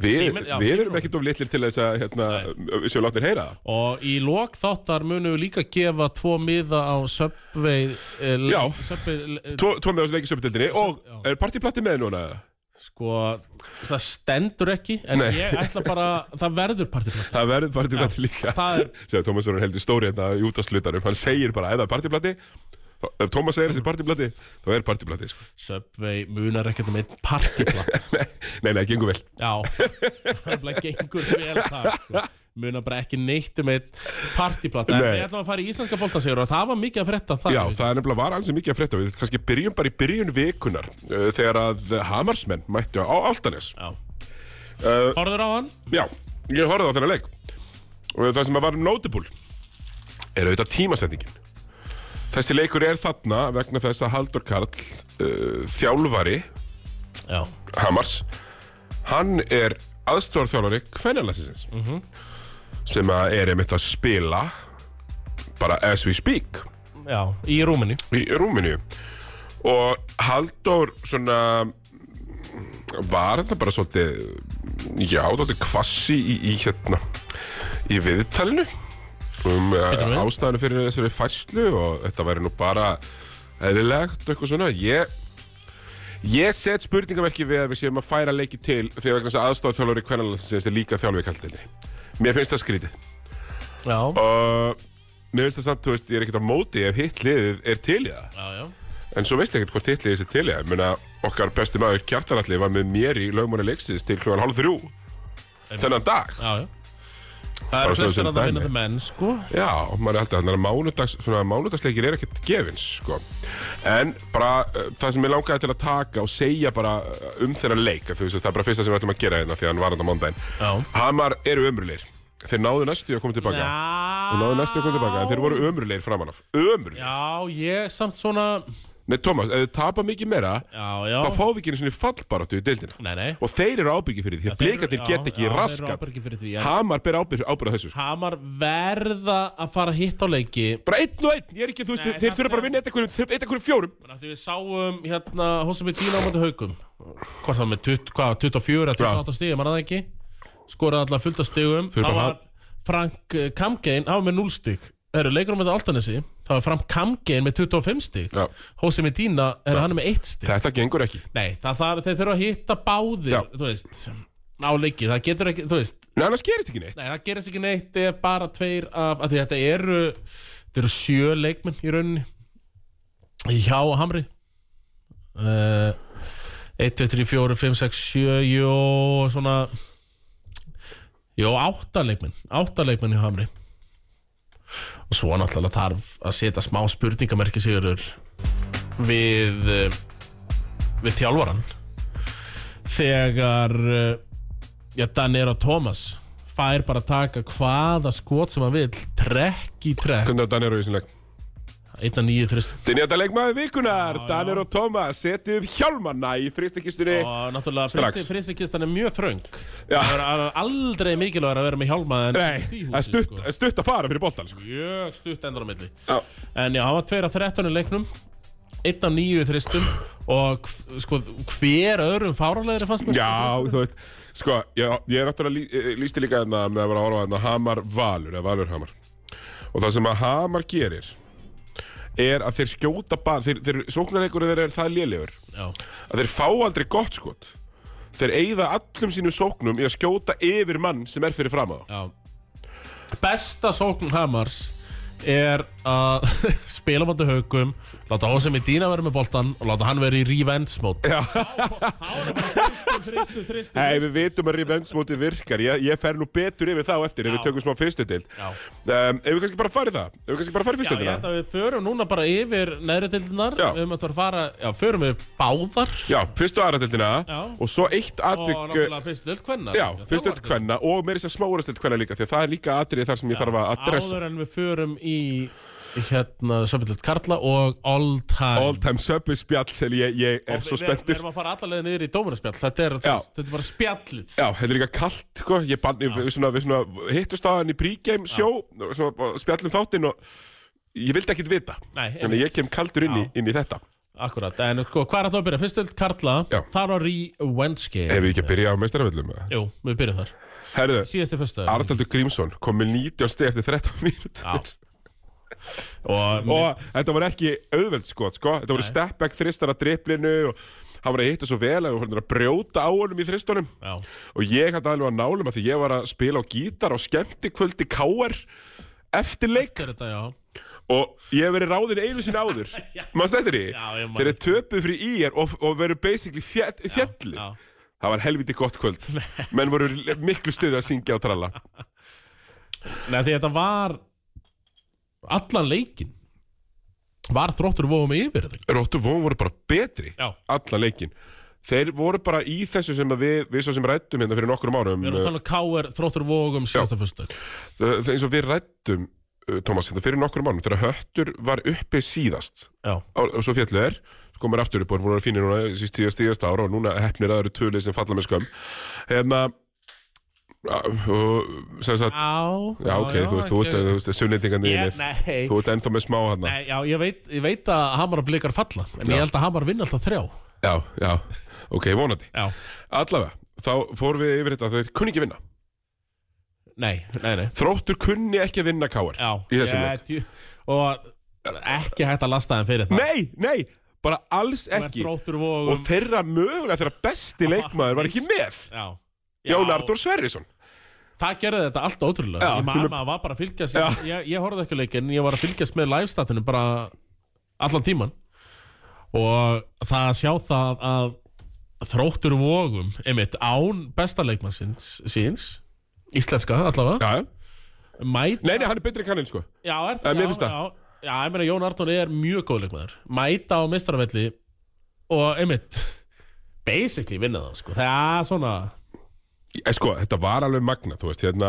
Við,
Síminn- já,
við
síminn.
erum ekkert of litlir til þess að hérna, við séum látnir heyra það.
og í lok þáttar munum við líka gefa tvo miða á Subway eh, le-
Já.
Subway eh,
Tvo, tvo með á leikisöpudildinni og er partíplatti með núna?
Sko, það stendur ekki En
Nei.
ég ætla bara, það verður partyplata
Það verður partíplatti líka [LAUGHS]
það er-
Segðu Tómas er heldur stóri hérna í útastlutanum Hann segir bara eða partíplatti þá- Ef Tómas segir þessi partíplatti, þá er partíplatti sko. [LAUGHS]
Subway munar ekkert um einn partyplata
Nei, nei, gengur vel
Já, það gengur vel það sko. Munar bara ekki neitt um einn partyplata En
Nei.
ég ætla að fara í íslenska boltansegur Og það var mikið að frétta það
Já, það er nefnilega var alls mikið að frétta við kannski byrjum bara í byrjun vikunar uh, þegar að Hamarsmenn mættu á Altanes
Já.
Eh,
Horður á hann
Já, ég horfði á þennan leik og það sem að var notable er auðvitað tímasetningin Þessi leikur er þarna vegna þess að Haldur Karl uh, þjálfari
Já,
Hamars hann er aðstofþjálfari kvennalæsins sem að er einmitt að spila bara as we speak
já, í rúminni
í Rúmeníu og Halldór svona var þetta bara svolítið já, svolítið kvassi í, í hérna í viðtalinu um
við?
uh, ástæðinu fyrir þessari fæslu og þetta væri nú bara eðlilegt og eitthvað svona ég Ég set spurningamerki við að við séum að færa leiki til því að vegna þess að aðstofþjálfur í kvennalandsins er líka þjálfur í kaldinni. Mér finnst það skrítið.
Já,
Og mér finnst það samt, þú veist, ég er ekkert á móti ef hitt liðið er til í það.
já, já
En svo veistu ekkert hvort titli þessi til ég Muna okkar besti maður Kjartanalli var með mér í lögmáni leiksins til klugan hálf þrjú Þennan dag
Já, já Það
Bara
eru
svo sem
flestir að það
dæmi.
vinna það menn, sko
Já, maður er alltaf þannig að mánudags, svona, mánudagsleikir er ekkert gefins sko. En bara uh, það sem ég langaði til að taka og segja bara eh, uh, um þeirra leik af því, þú veist, Það er bara fyrsta sem við ætlum að gera hérna því að hann var hann á mándaginn
Já.
Hamar eru ömrulir Þeir náðu næstu í að koma tilbaka
Já.
Þeir náðu næstu í að koma tilbaka En þeir voru ömurlegir framan af Ömurlegir
Já, ég samt svona
Nei, Thomas, ef þið tapa mikið meira
Já, já
Þá fáum við ekki einu sinni fallbaráttu í deildina
Nei, nei
Og þeir eru ábyrgið fyrir því Þegar blikarnir get ekki
Já, þeir eru
raskat
ábyrgir fyrir því ja.
Hamar ber ábyrgið ábyrg á þessu sko.
Hamar verða að fara að hitta á leiki
Bara einn og einn Ég er ekki, þú veist,
Nei,
þeir
það
þurfa bara
sem-
að vinna eitt hverjum- eitt af hverjum fjórum
Þannig að því við sáum hérna Hósa með Dína á mæti haugum Hvort það með 20, hvað, 24 að 28 stigum, manna það ekki Skoraði alltaf fullt af stigum
Þau eru
Það
bara
var Frank eh, Kamgein Hann var með 0 stig Það eru leikur á með Altanesi Það var Frank Kamgein með 25 stig
Já.
Hósa með Dína er hann er með 1 stig
Þetta gengur ekki
Nei, það, það, þeir þurfa að hitta báðir
Já.
Þú veist Á leiki, það getur ekki, þú veist
Nei, annars gerist ekki neitt
Nei, það gerist ekki neitt ef bara tveir af, af því þetta eru þetta eru sjö leikmenn í rauninni hjá Hamri uh, 1, 2, 3, 4, 5, 6, 7 jó, svona jó, átta leikmenn átta leikmenn hjá Hamri og svo náttúrulega þarf að setja smá spurningamerki sigurur við eh, við þjálfaran þegar uh, Já, Danera Thomas fær bara að taka hvaða skot sem hann vil trekk í trekk
Hvernig að Danir eru í sinleik?
einna nýju þrist
Dinjata leikmaður vikunar, Danir og Tómas setjum hjálmanna í fristekistunni
og náttúrulega
Strax.
fristi, fristikistan er mjög þröng
Já.
það er það er aldrei mikilvægur að vera með hjálma en
Nei,
í
það
húsi,
er stutt,
sko.
það er stutt að fara fyrir boltan sko.
mjög stutt endur á milli
Já.
en já, hann var tveir af 13 í leiknum einn af nýju þristum og hv- sko, hver öðrum fáralegri fannst mér
Já, þú veist Sko, ég, ég er náttúrulega lí, eh, lýsti líka þarna með að vera að orfa þarna Hamar Valur, eða Valur Hamar Og það sem að Hamar gerir er að þeir skjóta bara þeir, þeir sóknarleikur þeir er það lélegur
Já.
að þeir fá aldrei gott skot þeir eigða allum sínum sóknum í að skjóta yfir mann sem er fyrir fram á þá.
Já. Besta sókn Hamars er að [LAUGHS] spila máttu haugum láta Hosei Medina vera með boltan og láta hann vera í revenge mode Já Þristu, þristu
Nei, við vitum að revenge-móti virkar ég, ég fer nú betur yfir þá eftir ef við tökum smá fyrstu til
Já.
um, Ef við kannski bara farið það Ef við kannski bara farið
Já,
fyrstu
ég
til
held að við förum núna bara yfir neðri deildinar
Já.
um að það fara, já, förum við báðar
Já, fyrstu og aðra
Já.
deildina og svo eitt
og
atvik
náttúrulega fyrstu deild hvenna
Já, fyrst eitt kvenna og meiri sér smáurastelt kvenna líka því að það er líka atrið þar sem ég þarf að adressa
Áður en við förum í hérna, söpildeild Karla og all time
All time subway spjall sem ég, ég er
Og
svo
við- við- Við
spenntur
erum að fara allalega niður í dómaraspjall Þetta er, þú
Já.
veist, þetta er bara spjallið
Já, þetta er líka kalt, sko, ég bann, við, svona, við svona hittust á hann í pregame sjó og svo og spjallum þáttinn og ég vildi ekkit vita,
Nei,
þannig að ég kem kaldur inn í, inn í þetta.
Akkurat, en sko, hvað er þetta að byrja? Fyrst öll Karla,
Já.
þar á Rí Wenski
Ef við ekki að byrja á meistaraföllum eða?
Jú, við byrjum þar
Herðu,
Síðasti fyrstu
Arnaldur Grímsson kom með 19 steg eftir 13 mínútur
Og, og
og þetta var ekki auðveld skot sko. þetta voru stepback þristar að driplinu og hann var að hitta svo vel að við vorum að brjóta á honum í þristunum
Já.
og ég hætti alveg að nálum að því ég var að spila á gítar á skemmtikvöldi KR eftir leik
þetta, já
og ég hef verið ráðin einu sinni áður maður stættir í
[LAUGHS] Já, ég man
þeir eru töpuð fyrir IR og, og veru basically fjall, fjalli
já.
það var helviti gott
[LAUGHS]
kvöld menn voru miklu stuði að syngja og tralla
Nei, því þetta var Allan leikin Var þróttur vóðum yfir þetta
Róttu Vóum voru bara betri
Já.
allan leikin þeir voru bara í þessu sem að við, við svo sem rættum hérna fyrir nokkrum árum
Við erum að tala um K.R. þróttur vóðum síðasta fyrstu
það það er eins og við rættum uh, Thomas, þetta fyrir nokkrum árum þegar höttur var uppi síðast
Já,
á, og svo fjallu er svo komur aftur upp og er búin að finna núna síst tíðast tíðast ára og núna hefnir að það eru tvölið sem falla með skömm hérna uh, og sem sagt
já,
já ok, þú veist, þú ert- þú veist, sunnendingandi
Ég,
þínir
nei,
þú ert ennþá með smá hann
nei, já, ég veit, ég veit að Hamar og Blikar falla En ég held að Hamar vinna alltaf þrjá
já, já, ok, vonandi
Já
allavega, þá fórum við yfir þetta þeir kunni ekki vinna
Nei, nei, nei
Þróttur kunni ekki að vinna káar
Já,
í þessum leik.
djú, og ekki hægt að lasta þeim fyrir það
Nei, nei, bara alls
Þú ert
ekki.
Þróttur vóðum
Og þeirra mögulega þeirra besti leikmaður var ekki með.
Já
Jón Artur Sverrisson.
Það gerði þetta alltaf ótrúlega
Já,
Ég
sem er-
mamma var bara að fylgjast ég, ég horfði ekki á leikinn, ég var að fylgjast með livestatinu bara allan tíman og það að sjá það að þróttur vógum einmitt án besta leikmannsins síns, íslenska allavega,
Já, já.
mæta
Nei, nei, hann er betri en kanninn, sko.
Já,
Eh,
er það,
mér
já,
finnst það.
já, já, ég meina Jón Arnón er mjög góð leikmaður Mæta á mistarafelli Og einmitt Basically vinna það, sko Það er svona
Eh, Sko, þetta var alveg magna, þú veist, hérna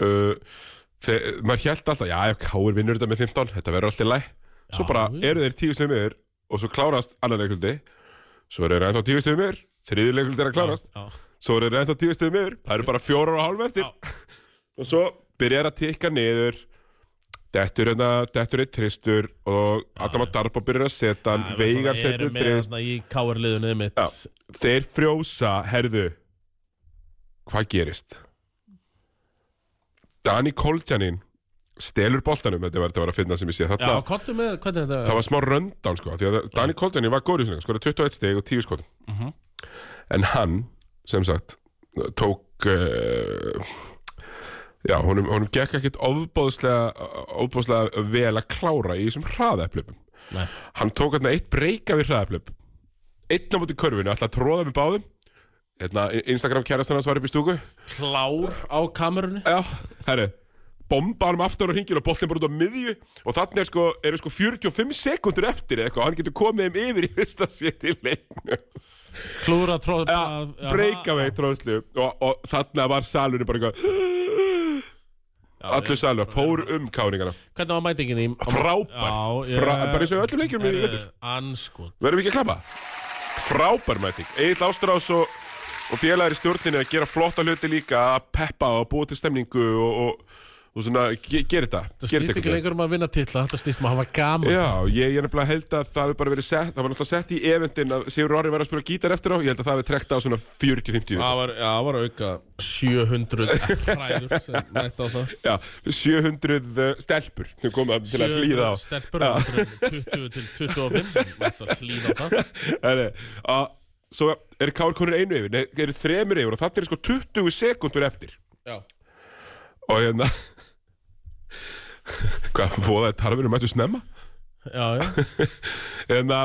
uh, þegar, maður held alltaf, já, ef Káir vinnur þetta með 15, þetta verður alltaf læg svo
Já,
bara
já.
eru þeir tíu slið meður og svo klárast annar leikuldi svo eru þeir ennþá tíu slið meður, þriði leikuldi er að klárast
Já,
svo eru þeir ennþá tíu slið meður, það eru bara fjórar og hálf eftir
Já.
[LAUGHS] og svo byrjar að tikka niður dettur hérna, dettur eitt tristur og Adam að Darbo byrjar að setja hann, Veigar setur þrist
hérna Í káarliðunni mitt
Já, þeir frjósa, herðu Hvað gerist? Dani Koltjanin stelur boltanum, þetta var, þetta var að finna sem ég sé
Já,
þarna
kottu með, hvernig þetta
Það var smá röndán sko, því að Dani Koltjanin var góður í sinni, skoði 21 steg og 10 skotum En hann, sem sagt, tók uh, Já, honum, honum gekk ekkit ofbóðslega, ofbóðslega vel að klára í þessum hraðaeflöpum
Nei.
hann tók hérna eitt breyka við hraðaflöp einn á móti körfinu, alltaf tróða með báðum hérna, Instagram kærastan hans var upp í stúku
klár á kamerunni
já, herri bomba hann um aftur á hringin og boltin bara út á miðju og þannig er sko, eru sko 45 sekundur eftir eða eitthvað, hann getur komið þeim yfir í fyrsta sétt í leiknum
Klúra tróð
Já, breyka veit tróðslu og, og þannig var salunum bara eitthvað allur salunum, fór um káningana
Hvernig var mætingin í
frábær, frá, bara eins og öllum leikjum í vettur
Anskot
Verðum við ekki að klappa? Frábær mæting. Egil Ástrás og, og félagar í stjórninni að gera flotta hluti líka að peppa og búa til stemningu og, og, og svona, ge, gera þetta.
Það
Gera
snýst
einhvern
ekki
veginn.
lengur um að vinna titla Þetta snýst um að hafa gaman
Já, ég, ég er nefnilega held að það hefur bara verið sett, það var náttúrulega sett í eventin að Sigur Orri var að spila gítar eftir á, ég held að það hefur trekt á svona 40-50.
Það var, já, það var auka
[LAUGHS]
700 hræður sem mætti á það
Já, 700 stelpur sem komið til að
700
hlýða á.
Stelpur á 20 til 25 sem mætti að hlýða á það
[LAUGHS] Nei, nei, eh, að, svo er Kár konur einu yfir, nei, eru þremur yfir og það er sko 20 sekundur eftir.
Já
Og hérna [LAUGHS] Hvað, fóða þetta harfinu mættu snemma?
Já, já,
Hérna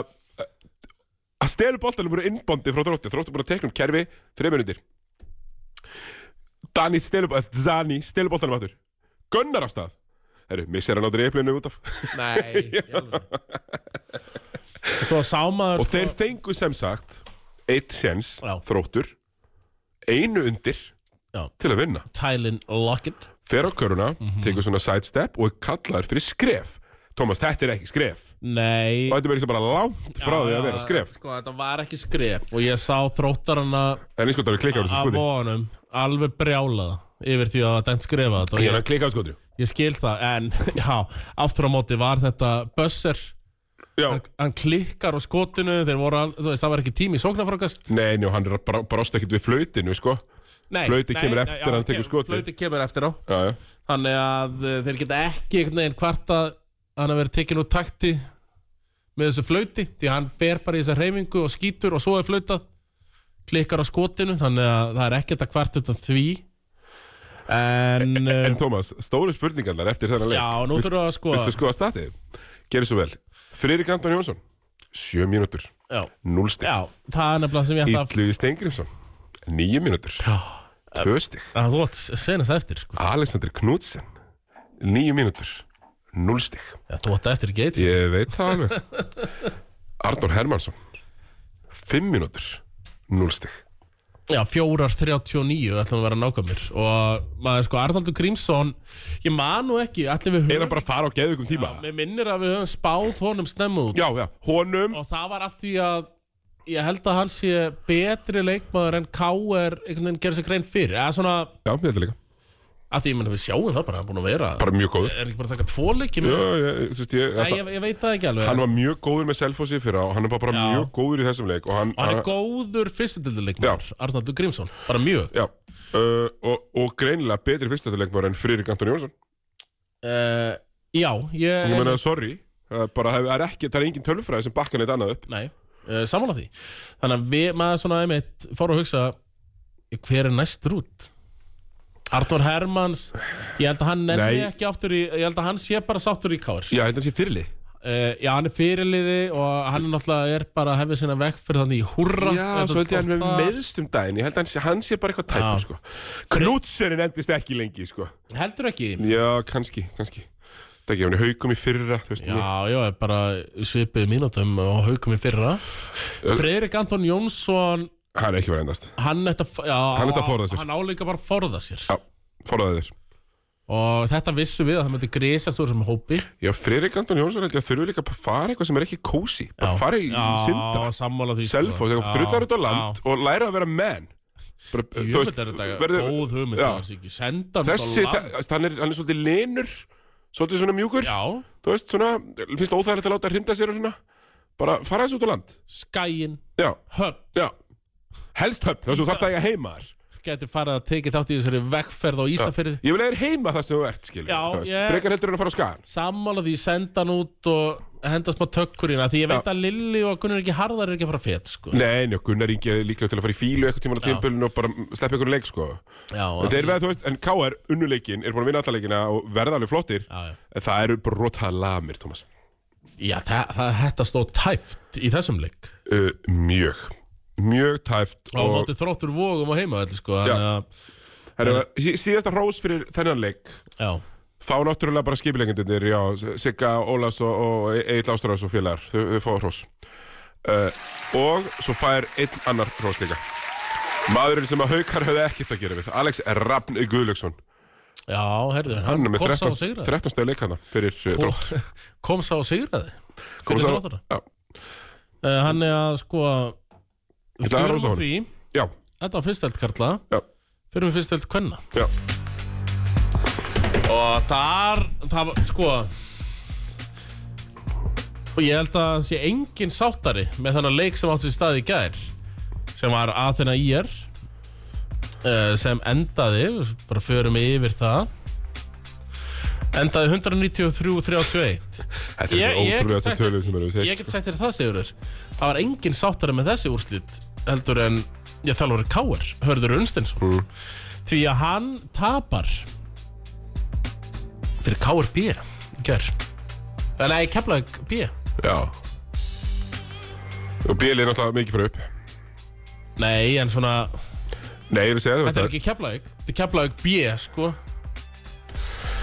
Að stelu boltanum voru innbóndi frá þrótti Þrótti bara teknum kerfi, þreim minundir Dani stelu boltanum Zani stelu boltanum aftur Gunnar á stað Herru, missir hann á dreiflinu út af
Sko-
[LAUGHS]
nei í alvöru. Svo sá maður
Og þeir fengu sem sagt Eitt séns,
Já.
þróttur Einu undir
Já. Mhm.
Til að vinna
Tylin Lockett
Fer á köruna, tekur svona sidestep Og er kallaður fyrir skref Thomas, þetta er ekki skref
Nei
Og þetta er bara langt frá því að vera skref
Sko, þetta var ekki skref Og ég sá þróttarana
Það er nýskotar að klika á þessu
af
skoti
honum Alveg brjálaða Yfir því að það var dæmt skrifa þetta og
Ég er
ég,
að klika á þessu skoti
ég skil það En, [LAUGHS] já, aftur á móti var þetta Bösser
Já,
Hann klikkar á skotinu Þeir voru, al- þú veist, það var ekki tími í sóknarfrákast
nei, njó, hann er að bara- brást ekkit við flautinu, sko
Nei,
Flauti
nei,
kemur
nei,
eftir
já,
hann tekur
kem-
skotið.
Flauti kemur eftir á
Já, já,
Þannig að eh, þeir geta ekki einhvern veginn hvarta hann að vera tekin úr takti með þessu flauti því hann fer bara í þessa reyfingu og skýtur og svo er flautað klikkar á skotinu þannig að það er ekkert að hvart utan því en,
En
en
Tómas, stóru spurningarnar eftir þennan leik
já, nú þurfum við að skoða
Viltu sko- skoða statið? Gerið svo vel Friðrik Anton Jónsson 7 mínútur,
já,
0 stig
já, það er nefnilega sem ég ætla að
Ítlugi Steingrimsson 9 mínútur 2 stig
að þú átt senast eftir sko.
Alexander Knudsen 9 mínútur, 0 stig
já, þú átt eftir geit
Ég veit það alveg Arnór Hermansson 5 mínútur, 0 stig
Já, fjórar 39 ætlum að vera nákvæmir og maður sko Arnaldur Grímsson ég man nú ekki, allir
Er
við höfum
hann bara að fara á geðugum tíma?
Mér minnir að við höfum spáð honum snemmu út
Já, já, honum
og það var af því að ég held að hann sé betri leikmaður en K.R. einhvern veginn gerði sér grein fyrir eða svona,
Já, ég held líka
af því ég menn við sjáum það bara hann er búin að vera,
Bara mjög góður
er ekki bara að taka tvo leiki
Já,
með-
ég, þú veist, ég,
Nei,
alltaf,
ég, ég veit það ekki alveg
Hann var mjög góður með Selfossi fyrir á og Hann er bara, bara
Já.
mjög góður í þessum leik Og hann,
og hann er góður fyrstendilduleikmaður Arnaldur Grímsson, bara mjög
Já, uh, og, og greinilega betri fyrstöðuleikmaður en Friðrik Anton Jónsson
uh, Já,
Ég
ég
meina, sorry Það er Bara, það er ekki, það er engin tölfræði sem bakkan eitt annað upp
Nei, uh, samanlega því Þannig að við, maður svona einmitt fór að hugsa hver er næstur út? Arnór Hermans ég held að hann nenni
Nei.
ekki aftur í ég held að hann sé bara sáttur í kár uh,
Já, þetta sé fyrirli
Já, hann er fyrirliði og hann er náttúrulega er bara að hefja sína vekk fyrir þannig í húrra sko
Já, svo held ég hann með meðstum daginn Ég held að hann sé, hann sé bara eitthvað tæpur,
Já.
sko Knútsenin endist ekki lengi, sko
Heldur ekki?
Já, kannski, kannski Það ekki, hann er haukum í fyrra, þú veist
Já, já, er bara svipið mínútum og haukum í fyrra Freyrik Anton Jónsson
Hann er ekki verið endast
Hann ætti að, já,
Hann ætti að forða sér.
Hann álíka bara að forða sér
Já, forðaði þér
Og þetta vissum við að það myndi grísast úr sem hópi
Já, Friðrik Anton Jónsson held ég að þurfi líka að fara eitthvað sem er ekki kósi Bara
Já.
fara í sindra,
Já, sammála því sko.
self og þegar drullar út á land
já.
og læra að vera menn bara,
Jú, þetta er þetta
verður-
góð hugmynd
Já.
annars ekki. Senda hann út
Þessi,
á land
þa- hann er, hann er svolítið linur Svolítið svona mjúkur
Já,
Þú veist, svona, finnst það óþægilegt að láta hrinda sér og svona Bara fara þessu út á land
skæin,
Já,
höfn
já Helst höfn, þess að þú þarft að eiga heima þar
Gæti farið að tekið þátt í þessari vegferð á Ísafyrði
Ég vil eiga þér heima það sem þú ert, skilur
Já,
þú veist.
ég-
Frekar heldur en að fara á skagan
Sammála því, senda hann út og henda smá tökkur hérna Því ég veit
Já.
að Lilli og Gunnar ekki harðar er ekki að fara fet sko.
Nei, njá, Gunnar Ingi er líklega til að fara í fílu eitthvað tíma á tímpulinu og bara sleppa ykkur úr leik, sko
Já,
En þeir veða, þú veist, en KR, unnuleikin, er búin að vinna alla leikina og verða alveg flottir
Já, já.
En það eru brotað lamir, Thomas
Já, það, það þetta stóð tæft í þessum leik
uh, Mjög, mjög tæft
og, og móti þróttur vógum á heimaðall sko,
Já.
þannig að-
Herra, sí- síðasta hrós fyrir þennan leik
já,
Fá náttúrulega bara skipilegendir, já, Sigga, Ólafs og, og Egil Ástrás og félagar, þau, þau fá hrós. Uh, og svo fær einn annar hrós líka. Maðurinn sem að haukar höfðu ekkert að gera við, Alex Rafn Guðlöksson.
já, herðu
Hann er með
kom sá og
13,
sigraði
13 stegi leikana fyrir uh,
Kom-
þrótt.
[LAUGHS] kom sá og sigraði fyrir þróttara
Já,
uh, hann er að sko
Ég ætla að
förum
hrósa
á
honum.
því,
já,
þetta var fyrstelt karla
já,
fyrir við fyrstelt kvenna
já.
og þar, það var sko og ég held að sé engin sáttari með þannig leik sem átti sér stað í gær sem var Athena IR eh, sem endaði bara förum yfir það endaði 193-31
Þetta er
Ég-
ég,
ég get
ótrúlega
sagt-
þetta tölum sem eru
ég
sett.
get sagt þér það Sigurður það var engin sáttari með þessi úrslit heldur en ég þalvar Káar Hörður Unstensson
Mm.
því að hann tapar fyrir Káar B gör en nei, Keflag B
Já. Og Bíli er náttúrulega mikið fyrir upp.
nei, en svona,
Nei, ég er að segja þú veist
þetta er ekki Keflag þetta er Keflag B, sko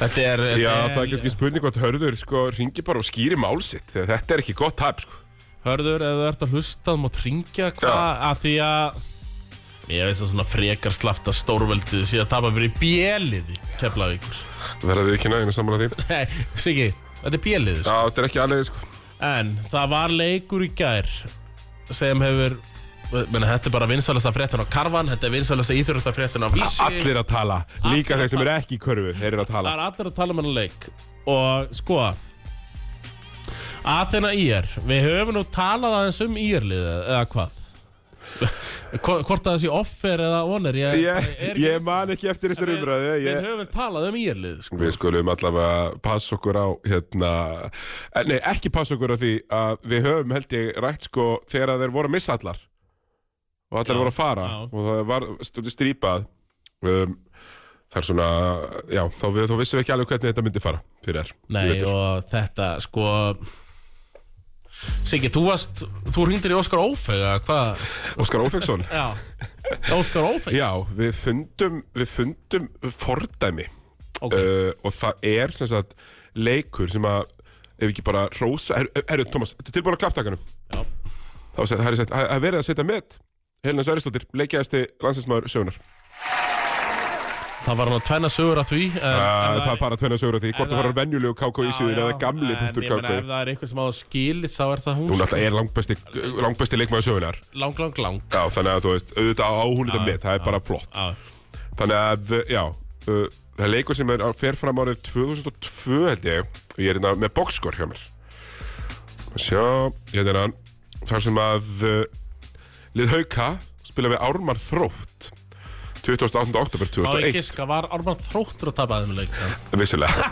þetta er þetta
Já, það er kannski spurning hvað hörður, sko, ringi bara og skýri mál sitt. Þegar þetta er ekki gott tap, sko.
Hörður, ef þú ert að hlusta þú mátt ringja hvað að því að ég veist að svona frekar slaft að stórveldið sé að tapa fyrir bjeliði Keflavíkur
Verða við ekki næðin að samanlega því.
Nei, Siggi, þetta er bjeliði
Já, þetta er ekki aðlega sko
En það var leikur í gær sem hefur menna, þetta er bara vinsalasta fréttin á Karvan þetta er vinsalasta íþjóðurstafréttin á Vísi
Allir að tala, líka þeir sem eru ekki í körfu Þeir eru að
Það
tala
er allir að tala um hennar leik og sko Athena IR við höfum nú talað aðeins um IR-liðið eða hvað [LAUGHS] Hvo- hvort að það sé offer eða oner ég,
Ég,
er ekki
ég
viss.
man ekki eftir þessar umræðu
við
ég,
höfum talað um IR-liðið sko.
Við skulum allavega passa okkur á hérna, eh, Nei, ekki passa okkur á því að við höfum held ég rætt sko þegar að þeir voru að missa allar og allar
Já,
voru að fara
já.
og það var stundu strípað um, Það er svona Já, þá, við, þá vissum við ekki alveg hvernig þetta myndi fara fyrir þér í
Nei
vetur.
og þetta sko Siggi, þú varst þú hringdir í Óskar Ófeg eða hvað
Óskar Ófeksson
Já, Óskar Ófeigs
Já, við fundum, við fundum fordæmi
ok,
uh, og það er sem sagt leikur sem að ef ekki bara rósa, herru, her, Thomas, þetta er tilbúin að klapptakanum
Já.
þá seg- það er sagt, það er verið að setja með Helena Særistóttir, leikjæðasti landsinsmaður sögunar
það var hann að tvenna sögur af því en,
Æ,
en
Eh, Uh, það fara tvenna sögur á því, hvort
en
það fara
það-
venjulegu KK í síðun eða gamli punktur
En ég meina
KK
ef það er eitthvað sem á að skili þá er það hún
hún alltaf er langbesti, langbesti leikmaður sögunar
Lang, lang, lang
já, þannig að þú veist, auðvitað á hún þetta með það er bara flott
Já,
Þannig að, já, uh, það er leikur sem er, fer fram árið 2002 held ég og ég er hérna með bókskor hjá mér. Að Sjá, ég er hérna þar sem að uh, Lið Hauka spila við Ármar Þrótt 28. oktober
Á
2001,
ég giska, var Ármann þróttur að tapa þeim leik já.
vissulega.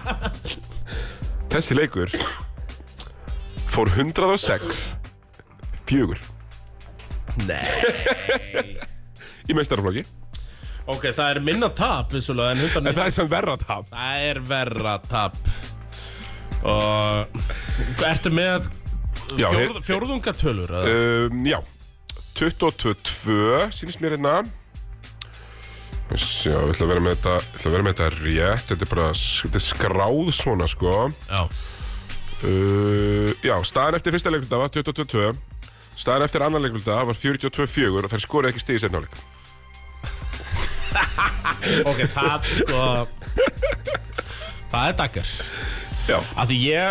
Þessi leikur fór 106 fjögur
Nei
[LAUGHS] í meistaraflokki.
Ok, það er minna tap vissulega en
En
190
það er sem verra tap.
Það er verra tap Og Ertu með
Já,
fjórð, fjórðungatölur? eða?
um, Já 22-2 sýnist mér hérna Sjá, ég ætla að vera með þetta ég ætla að vera með þetta rétt Þetta er bara þetta er skráð svona sko
Já
uh, Já, staðan eftir fyrsta leiklunda var 22-2 Staðan eftir annan leikvölda var 42-4 og þær skorið ekki stig í setna áleik.
Ok, það sko Það er daggar
Já.
Af því ég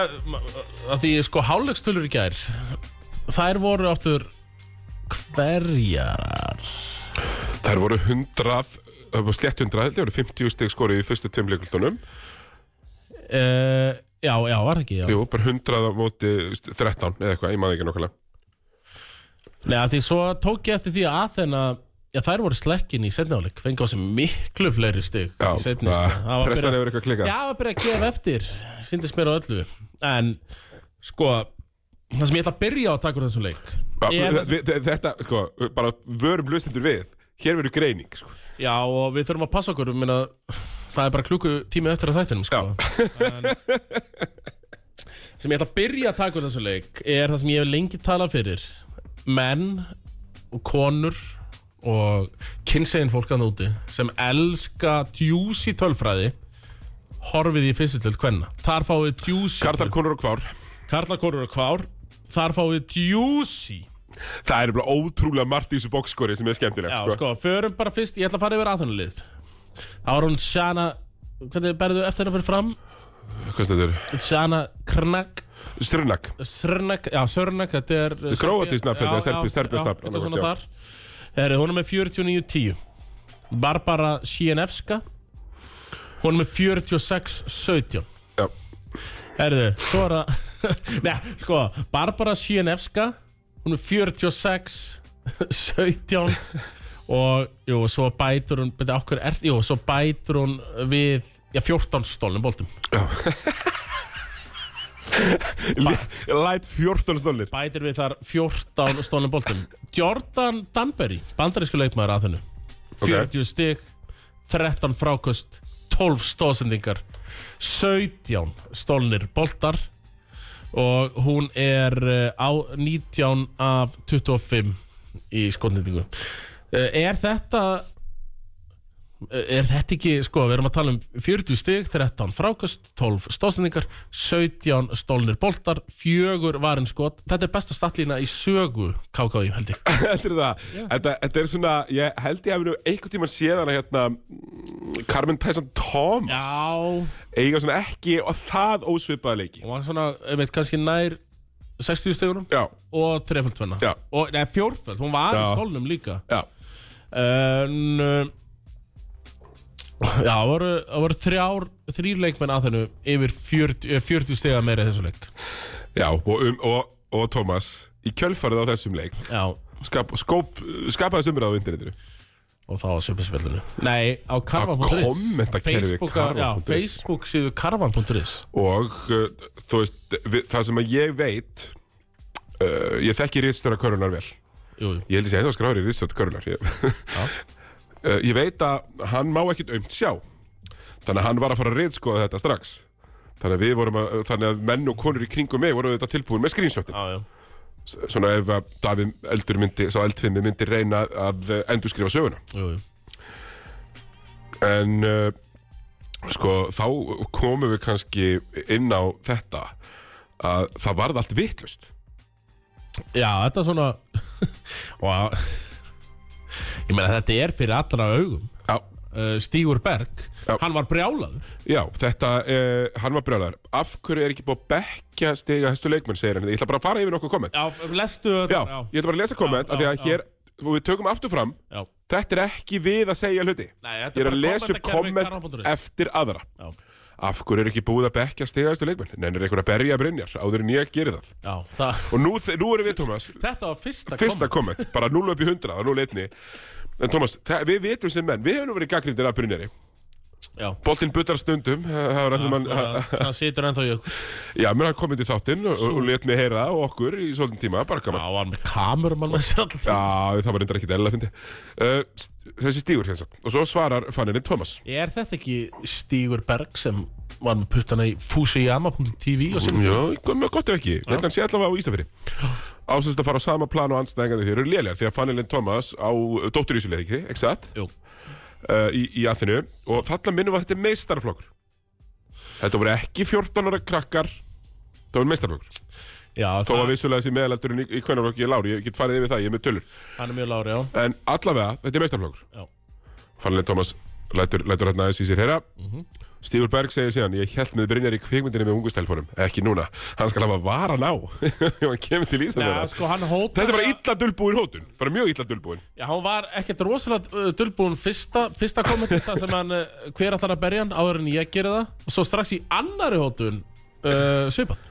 Af því sko hálfleikstölur í gær Þær voru aftur Hverjar
Þær voru 100, það var slett 100 held ég, voru 50 stig skorið í fyrstu tveim leikvöldunum.
uh, Já, já, var það ekki já.
Jú, bara 100 á móti þú veist, 13 eða eitthvað, ég maður ekki nokkulega.
Nei, af því svo tók ég eftir því að Athena Já, þær voru slekkin í setni áleik Fengi á sig miklu fleiri stig
Já,
í seinni,
það-
sko. Það var
pressan
byrjað-
hefur eitthvað klikkað.
Já, að byrja að gefa eftir Sýndist mér á öllu En, sko Það sem ég ætla að byrja á að taka úr þessum leik
Ba-
er það sem-
við- við- Þetta, sko, bara vörum lustendur við. Hér verður greining, sko.
Já og við þurfum að passa okkur ég meina, Það er bara klukku tími eftir að þættinum sko. en, Sem ég ætla að byrja að taka úr þessu leik Er það sem ég hef lengi talað fyrir Menn og konur Og kynsegin fólk að núti Sem elska djúsi tölfræði Horfið í fyrstu til hvenna Þar fáið djúsi
Karlar, konur og kvár.
Karla konur og kvár Þar fáið djúsi
Það er bara ótrúlega margt í þessu bókskori sem er skemmtilegt,
Já,
sko.
sko, förum bara fyrst, ég ætla að fara yfir aðhönulið Þá er hún Shana Hvernig berðu eftir hennar fyrir fram?
Hvað stendur?
Shana Krnak
Srnak.
Srnak, já, Sörnak, þetta er Þetta
er króatískt nafn, þetta er serbi- serbískt nafn,
Þetta er
já.
svona þar Heri, Hún er með 49.10 Barbara Sienevska Hún er með 46.17
Já.
Herðu, svo er það [LAUGHS] Nei, sko, Barbara Sienevska Hún er 46 [LAUGHS] 17 Og, jú, svo bætur hún Beti, okkur er, jú, svo bætur hún við Já, 14 stólnum boltum
Light 14 stólir.
Bætir við þar 14 stólnum boltum Jordan Danbury, bandarísku leikmaður að þennu 40 stig 13 frákost 12 stóðsendingar 17 stólnir boltar og hún er eh, á 19 af 25 í skotnýtingu er þetta er þetta ekki, sko, við erum að tala um 40 stig, 13 frákast 12 stóðsendingar, 17 stólnir boltar, fjögur varin skot þetta er besta statlína í sögu KKI, held ég
[LAUGHS] Heldur það? Þetta, þetta er svona, ég held ég að við nú einhvern tímann séð hana hérna mm, Carmen Tyson Thomas
Já,
eiga svona ekki og það ósvipaða leiki
hún var svona, einmitt, kannski nær 60 stegunum
Já,
og treföld tvenna
Já.
og neða, fjórföld, hún var í
Já.
stólnum líka
já,
en uh, já, það voru, það voru þrjár, þrýr leikmenn að þennu yfir 40, eh, 40 stega meira í þessu leik
já og, um, og, og Thomas í kjölfarið á þessum leik
já,
skap, skóp, skapaðist umræða á internetinu
og það var söpinspillinu nei,
Á
á karvan.is
kommentakerfi
Facebook, já,
karvan.is.
Facebook síðu karvan.is
og uh, þú veist, við, það sem að ég veit uh, ég þekki rýðstöra körunar vel
jú, jú.
ég held að ég hefði að skráður í rýðstöra körunar ég, [LAUGHS] uh, ég veit að hann má ekkit aumt sjá þannig að hann var að fara að rýðskoða þetta strax þannig að við vorum að, þannig að menn og konur í kringum mig voru þetta tilbúin með screenshotin
Já, já.
svona ef að Davíð Eldur myndi, sá eldfinni myndi reyna að uh, endurskrifa söguna
Jú, jú.
en uh, sko þá komum við kannski inn á þetta að það varð allt vittlust
já, þetta er svona [LAUGHS] og ég meina þetta er fyrir allra augum
já,
uh, Stígur Berg,
Já.
hann var brjálaður
já, þetta, uh, hann var brjálæður af hverju er ekki búið að bekkja stiga hæstu leikmenn, segir hann, ég ætla bara að fara yfir nokkuð komment já,
Já, lestu þetta
ég ætla bara að lesa komment,
Já,
af því
já,
að hér og við tökum aftur fram,
já.
þetta er ekki við að segja hluti,
Nei,
ég
þetta
er að
er bara
lesa upp
kommentakerfi
komment
karvan.is.
eftir aðra
Já.
af hverju er ekki búið að bekkja stiga hæstu leikmenn, nennir einhver að berja Brynjar áður en ég gerir það,
Já, það,
og nú, nú erum við Thomas
þetta var fyrsta,
fyrsta komment, bara 0 upp í 100 og 0 einni En Tómas, þa- við vitum sem menn, við hefum nú verið gaggrindir af Brynjari
Já,
Boltinn butar stundum, eh, það var það sem hann
það, það situr ennþá í okkur
Já, mér hann komið til þáttinn og, og let mig heyra og okkur í svolítinn tíma, bara
Já,
gaman
hann með kamerumann með sér alltaf
Já, það var reyndar ekkit eðla að fyndi uh, st- Þessi stígur hérna satt. Og svo svarar fanninni Tómas
Er þetta ekki Stígur Berg sem var með puttana í fusiyama.tv og sem
Já, kom- gott ef ekki, þetta hann sé allavega á Ísafri Ásins að fara á sama plan og anstæðingandi þeir eru lélegar því að fanninni Tómas á eh, dóttur í þessu leik, ekki satt?
Jú,
uh, í, í Aþenu og þarna minnum við að þetta er meistarflokkur Þetta voru ekki 14 ára krakkar Þetta voru meistarflokkur
Já,
Þó
það-
að vissulega þessi meðalaldurinn í, í kvennarflokki ég er lári, ég get farið yfir það, ég er með tölur
Hann er mjög lári, já.
En allavega, þetta er meistarflokkur
Já.
Fannileg Thomas lætur, lætur hérna aðeins í sér heyra
Mhm.
Stífur Berg segir síðan Ég held með Brynjar í kvikmyndinni með ungustelpunum Ekki núna, hann skal hafa varan á [LAUGHS] Ef hann kemur til
Já,
Ísafjörðar
sko, hann hóta
Þetta er bara illa dulbúin hótun Bara mjög illa dulbúin
Já, hann var ekkert rosalega uh, dulbúinn fyrsta, fyrsta
[LAUGHS]
kommentin þar sem hann, uh, hver ætlar að berja hann áður en ég gerir það og svo strax í annari hótun uh, svipað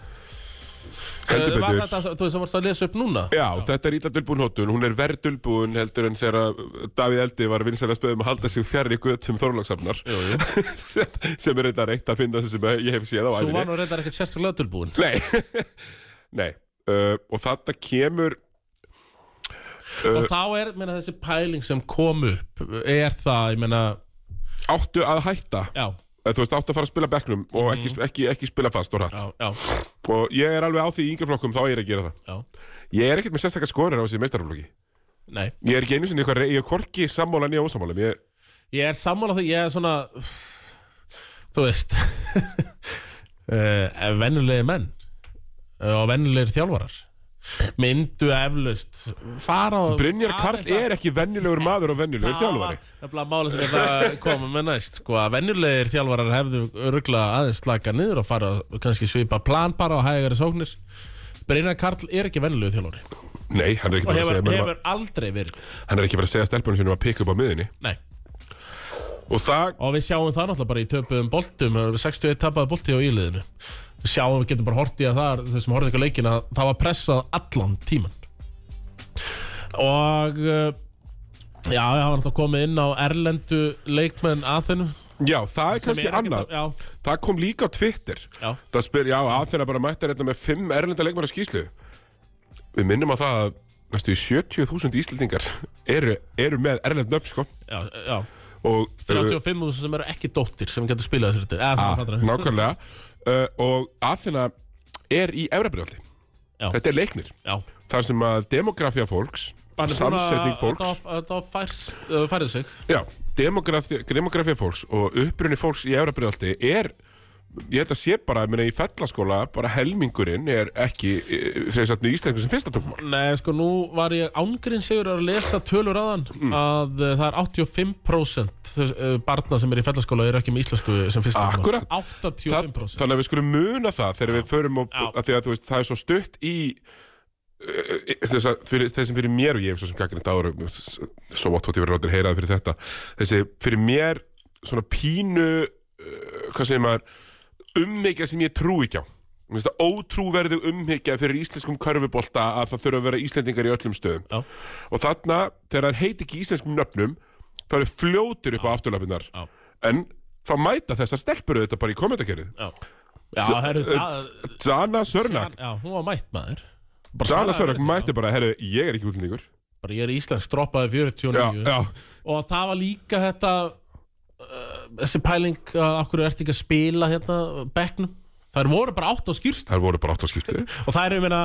Heldur
Eh, Var
betur
þetta, þú veist, það varst að lesa upp núna
Já, þetta er illa dulbúin hótun, hún er verð dulbúin heldur en þegar uh, Davíð Eldi var vinsælega spöðum að halda sig fjarr í göttum Þorlóksafnar sem, [LAUGHS] sem er þetta reitt að finna sem ég hef séð á
Þú
æfinni
var nú reyndar ekkert sérstaklega dulbúinn
Nei, [LAUGHS] nei uh, Og þetta kemur Eh.
Og þá er, meina, þessi pæling sem kom upp er það, ég meina,
Áttu að hætta
já,
Eða, Eh, Þú veist, áttu að fara að spila bekknum Og ekki, ekki, ekki spila fast og rætt
Mhm. já, já,
Og ég er alveg á því í yngjaflokkum, þá er ég að gera það
já,
Ég er ekkert með sérstakar skoðunar á þessi meistaraflokki
nei
Ég er ekki einu sinni eitthvað, rey- ég er korki sammála nýja ósamála Ég,
Ég er sammála því, ég er svona Þú veist [LAUGHS] uh, Vennulegi menn uh, og vennulegir þjálfarar myndu eflaust fara og
Brynjar Karl er ekki venjulegur maður og
Ah.
venjulegur þjálfari
Það er bara mála sem ég ætla að koma með næst sko, að venjulegir þjálfarar hefðu örgla aðeins slaka niður og fara og kannski svipa plan bara og hægari sóknir Brynjar Karl er ekki venjulegur þjálfari
Nei, hann er ekki
og
bara að
hefur,
segja mönnum að-
hefur aldrei verið
Hann er ekki bara að segja stelpunum sinum að pikka upp á miðinni
Nei.
Og það,
og við sjáum það náttúrulega bara í töpuðum boltum það eru 61 tapaði bolti á íliðinu við sjáum við getum bara hortið að það þau sem horfið ekki á leikin að það var pressað allan tíman og uh, já, það var náttúrulega komið inn á erlendu leikmenn að þennu
já, það er kannski annað
já,
Það kom líka á Twitter
Já.
Það spyr, já, Aþena bara mættar þetta með fimm erlenda leikmæra skýslu Við minnum á það að næstu í 70.000 Íslendingar eru, eru með erlend nöfn, sko
já, já
og,
35 þúsund sem eru ekki dóttir sem getur spilað þessari eða
uh,
það
að,
fattar við.
[LAUGHS] Nákvæmlega uh, Og Aþena er í Evrabriðaldi
Já.
Þetta er leiknir
já
Þar sem að demografía fólks
Hann er búinn að-
Samsetning fólks
þetta var- þetta var færst- uh, færið sig
Já, demografi, demografía fólks og upprunni fólks í Eurabriðaldi er ég held að sé bara, ég meina í fellaskóla bara helmingurinn er ekki eh, sem sagt með íslensku sem fyrsta tungumál
Nei, sko, nú var ég ángrinn sigur að lesa tölur aðan
Mm.
að uh, það er 85% þess- uh, barna sem er í fellaskóla eru ekki með íslensku sem fyrsta tungumál.
Akkurat. Það,
85%
þannig að við skulum muna það þegar við förum og,
Já.
að því að þú veist, það er svo stutt í uh, þess að, fyrir, þeir sem fyrir mér og ég hef svo sem gagnið ára svo átt hótti verið ráttir heyraði fyrir þetta þessi fyrir mér svona pínu uh, hvað segir maður umhyggja sem ég trú ekki á Mér finnst það ótrúverðu umhyggja fyrir íslenskum körfubolta að það þurfa að vera íslendingar í öllum stöðum
Já.
og þarna þegar það heiti ekki íslenskum nöfnum þá eru fljótir upp á afturlapinnar
Já.
en þá mæta þessar stelpur auðvitað bara í kommentarkerið
Já, já
Eh,
herru, það...
Dana Sörnak
Já, hún var mætt maður. Bara
Dana
svaraði
Sörnak
þessu,
mætti bara, herru, ég er ekki útlendingur
já. Bara ég er íslensk, droppaði
Já,
49
já,
og það var líka þetta uh, þessi pæling að af hverju ertu ekki að spila hérna bekknum. Það voru bara átt á skýrst
þær voru bara átt á skipti
og það eru, ég meina,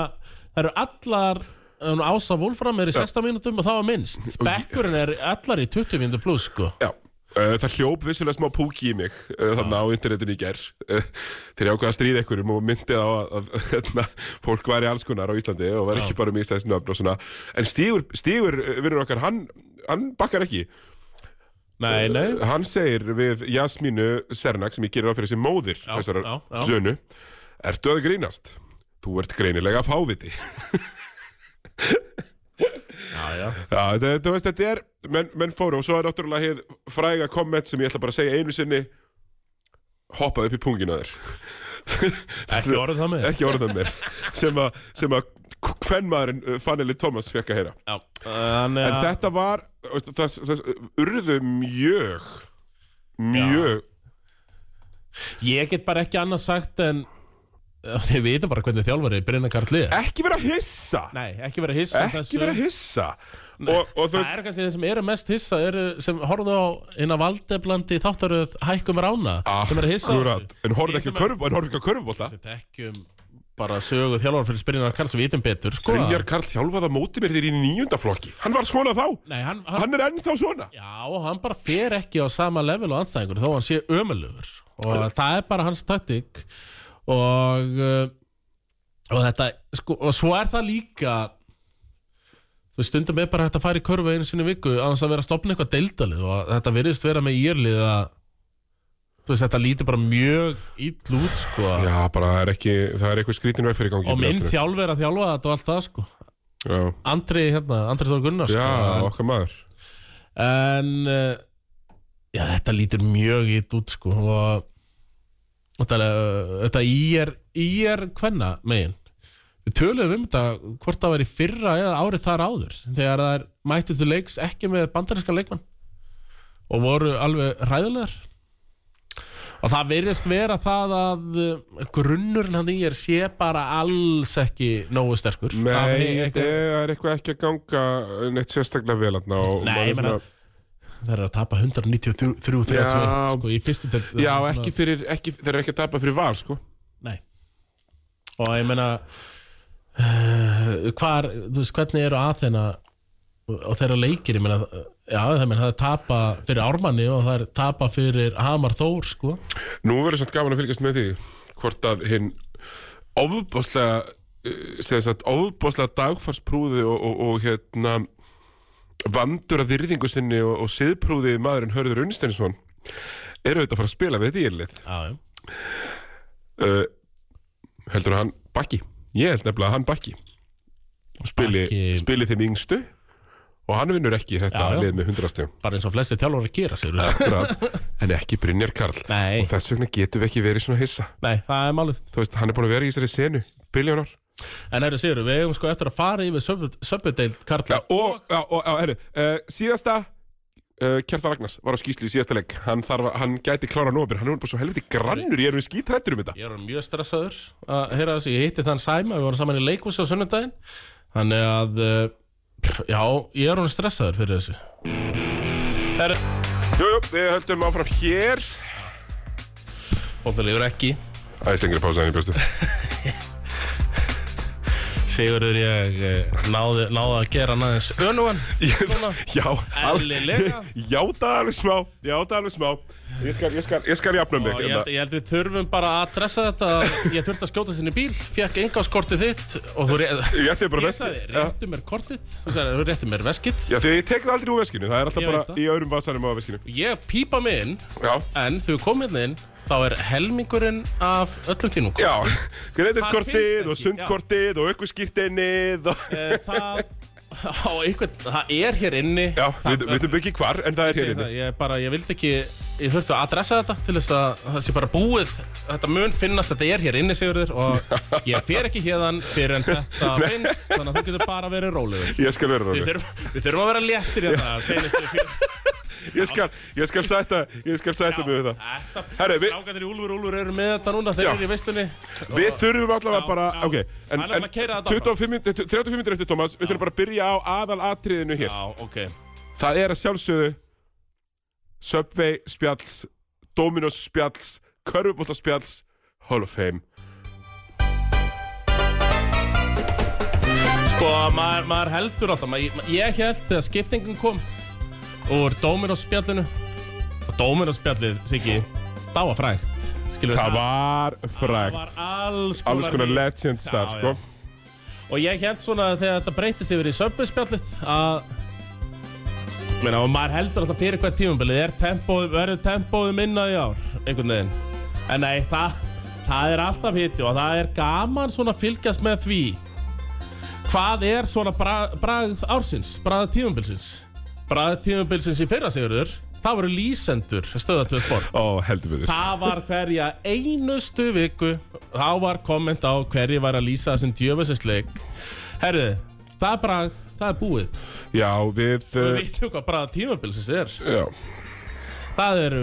það eru allar um, Ása Wolfram er í 16 mínútum og það var minnst Bekkurinn er allar í 20 mínútum pluss sko
Já Uh, það hljóp vissulega smá púki í mig uh, þannig á internetinu í ger uh, þegar ég ákveða að stríða einhverjum og myndið á að, [LAUGHS] að, hérna, fólk væri alls konar á Íslandi og var ekki bara mjög stæðis nöfn og svona en Stígur, Stígur uh, vinnur okkar, hann, hann bakkar ekki
Nei, nei
hann segir við Jasmínu Sernak sem ég gerir á fyrir sem móðir
Já,
þessarar
já, já.
sönu Ertu að grínast? Þú ert greinilega fáviti
Já, já
Já, þetta, þú veist, þetta er menn, menn fóru og svo er náttúrulega hér fræga komment sem ég ætla bara að segja einu sinni hoppað upp í punginu að þér
Ekki orðið það með þér.
ekki orðað mér [LAUGHS] sem að, sem að hvern maðurinn Fanneli Thomas fekk að heyra
Já, þannig
en
að
þetta var veist, það, það, það urðu mjög mjög
Ég get bara ekki annað sagt en [LAUGHS] Þið vita bara hvernig þjálfari Brynna Karli er
ekki vera hissa
Nei, ekki vera hissa á
ekki
þessu.
vera hissa og, og þú
Það
veist
eru kannski þeir sem eru mest hissa eru sem horfðu á inn að valdeblandi þáttaröð hækkum rána
Ah,
sem eru hissa á þessu.
Akkurat, en horfðu ekki
Ég
á
sem er-
körfu- en horfðu ekki á körfubólta
Við tekjum bara sögu þjálfari fyrir Brynna Karls við vitum betur sko
Brynjar Karl þjálfaði á móti mér þér í níunda flokki Hann var svona þá
Nei, hann, hann,
Hann er ennþá svona
Já, hann bara fer ekki á sama level og anstæðingur þó hann sé ömulugur og það er bara hans taktík og uh, eh, og þetta, sko, og svo er það líka þú veist, stundum er bara hægt að fara í körfu einu sinni í viku á þess að vera að stopna eitthvað deildalið og þetta virðist vera með írlið að þú veist, þetta lítur bara mjög ill út, sko
Já, bara það er ekki, það er eitthvað skrítin veg fyrir gangi
og minn
Brynjólfsdóttir.
þjálfur að þjálfa þetta og allt það, sko
Já,
Andri, hérna, Andri Þór Gunnars
já
sko,
okkar maður
en, en eh, já, þetta lítur mjög ill út, sko og þetta, eh, þetta í er í er hvenna megin við töluðum um þetta hvort það var í fyrra eða árið þar áður þegar það er mættu til leiks ekki með bandarinska leikmann og voru alveg ræðulegar og það virðist vera það að eh, grunnurinn hann í er sé bara alls ekki nógu sterkur Af
Nei,
einhver-
þetta er eitthvað ekki að ganga neitt sérstaklega vel hann
Nei, ég meina- Það er að tapa 193-31
Já.
sko, í fyrstu delt
Já, ekki fyrir, ekki, þeir eru ekki að tapa fyrir val, sko
Nei Og ég meina uh, hvar, þú veist, hvernig eru að þeirna og þeirra leikir, ég meina uh, Já, það, meina, það er tapa fyrir Ármanni og það er tapa fyrir Hamar Þór, sko
Nú verður samt gaman að fylgjast með því hvort að hinn eh, ofbóðslega segja satt, ofbóðslega dagfarsprúði og, og, og hérna vandur að virðingu sinni og, og siðprúði maðurinn Hörður Unnsteinsson eru auðvitað að fara að spila við þetta írlið
Já, já
uh, heldur að hann bakki ég held nefnilega að hann bakki og spili,
Bakki-
spili þeim yngstu og hann vinnur ekki þetta
Já, já.
lið með 100 stegum
Bara eins og flestir þjálfur að gera, segir
en ekki Brynjar Karl
[LAUGHS] Nei.
og þess vegna getum við ekki verið svona hissa
Nei, það er málið
þú veist, hann er búin að vera í þessari senu biljónar
En herru, segir við eigum sko eftir að fara yfir söpudeild
Já,
Karla
og, já, og, já, herru, uh, síðasta uh, Kjartan Ragnars var á skýslu í síðasta leik hann, þarf, að- hann gæti klára nóbir, hann er bara svo helviti grannur ég er við skítrættur um þetta
Ég er orðinn mjög stressaður að heyra þessu, ég hitti þann Sæma, við vorum saman í leikhúsi á sunnudaginn Þannig að, eh, pff, já, ég er orðinn stressaður fyrir þessu Herru,
Jú, jú, við höldum áfram hér
óþjóðlegur ekki
Æs lengri pása en ég bjóstu
Sigurður ég eh, náði, náði að gera hann aðeins önugan Svona.
Já,
Eðlilega.
[LAUGHS] játa alveg smá Játa alveg smá Ég skal, ég skal, ég skal jafna um
Og
mig
ég
hérna.
held, ég held við þurfum bara að dressa þetta að Ég þurfti að skjóta sinni bíl, fekk engaskortið þitt Og þú rétt
Ég ætti bara
Ég
veskið
sagði,
Já,
réttu mér kortið Þú sagði, þú réttu mér veskið
já, því að ég tek það aldrei úr veskinu Það er alltaf
Ég veit
bara
það.
í öðrum vasanum á veskinu
Ég pípa mig inn
Já,
En þegar við komum hérna inn Þá er helmingurinn af öllum þínum
já [LAUGHS]
finnst
Greiðinkortið og
ekki,
sundkortið og aukvöskýrteinnið og...
Eh, Það [LAUGHS] á einhvern, það er hér inni
[LAUGHS] Já,
Það-
við við veitum ekki hvar en það er
ég segi
hér inni
það, Ég bara, ég vildi ekki Ég þurfti að adressa þetta til þess að það sé bara búið Þetta mun finnast, þetta er hér inni Sigurður
[LAUGHS]
Og ég fer ekki hérðan fyrir en þetta finnst Þannig að þú getur bara verið rólegur
Ég skal vera
Við
ráðið
þurfum, við þurfum að vera léttir hérna
[LAUGHS]
Seinistu fyrir
Ég skal, ég skal sætta, ég skal sætta mig við það
þetta
Herri, við-
Strákanir í Úlfur, Úlfur eru með þetta núna Þeir
Já.
eru í veislunni
Við þurfum allavega
Já,
bara,
já.
ok En,
Hann er
en
að keyra þetta áfram.
25 mínútur- 35 minnir eftir Thomas Við þurfum bara að byrja á aðalatriðinu hér
Já, ok
Það er að sjálfsögðu Subway spjalls, Dominos spjalls, Körfubólta spjalls, Hall of Fame.
Sko, maður, maður heldur alltaf, maður, ma- ég held þegar skiptingin kom úr Dominos spjallinu og Dominos spjallið, Siggi, það var frægt, skilur
Það var
það
frægt.
var alls konar,
Alls konar legend
Já,
star,
já.
sko.
og ég held svona að þegar þetta breytist yfir í Subway spjallið að Meina, og maður heldur alltaf fyrir hvert tímabilið er tempóð, verður tempóðu minna í ár einhvern veginn en nei, það, það er alltaf hitti og það er gaman svona að fylgjast með því hvað er svona bra, bragð ársins, bragð tímabilsins bragð tímabilsins í fyrra sigurður það voru lýsendur stöðatöð sport
Ó, heldur við þér.
það var hverja einustu viku þá var komment á hverju var að lýsa þessum djöfisins herðu, það er bragð, það er búið
Já, við...
Við
Uh,
veitum hvað bara tímabilsins er
já.
Það eru,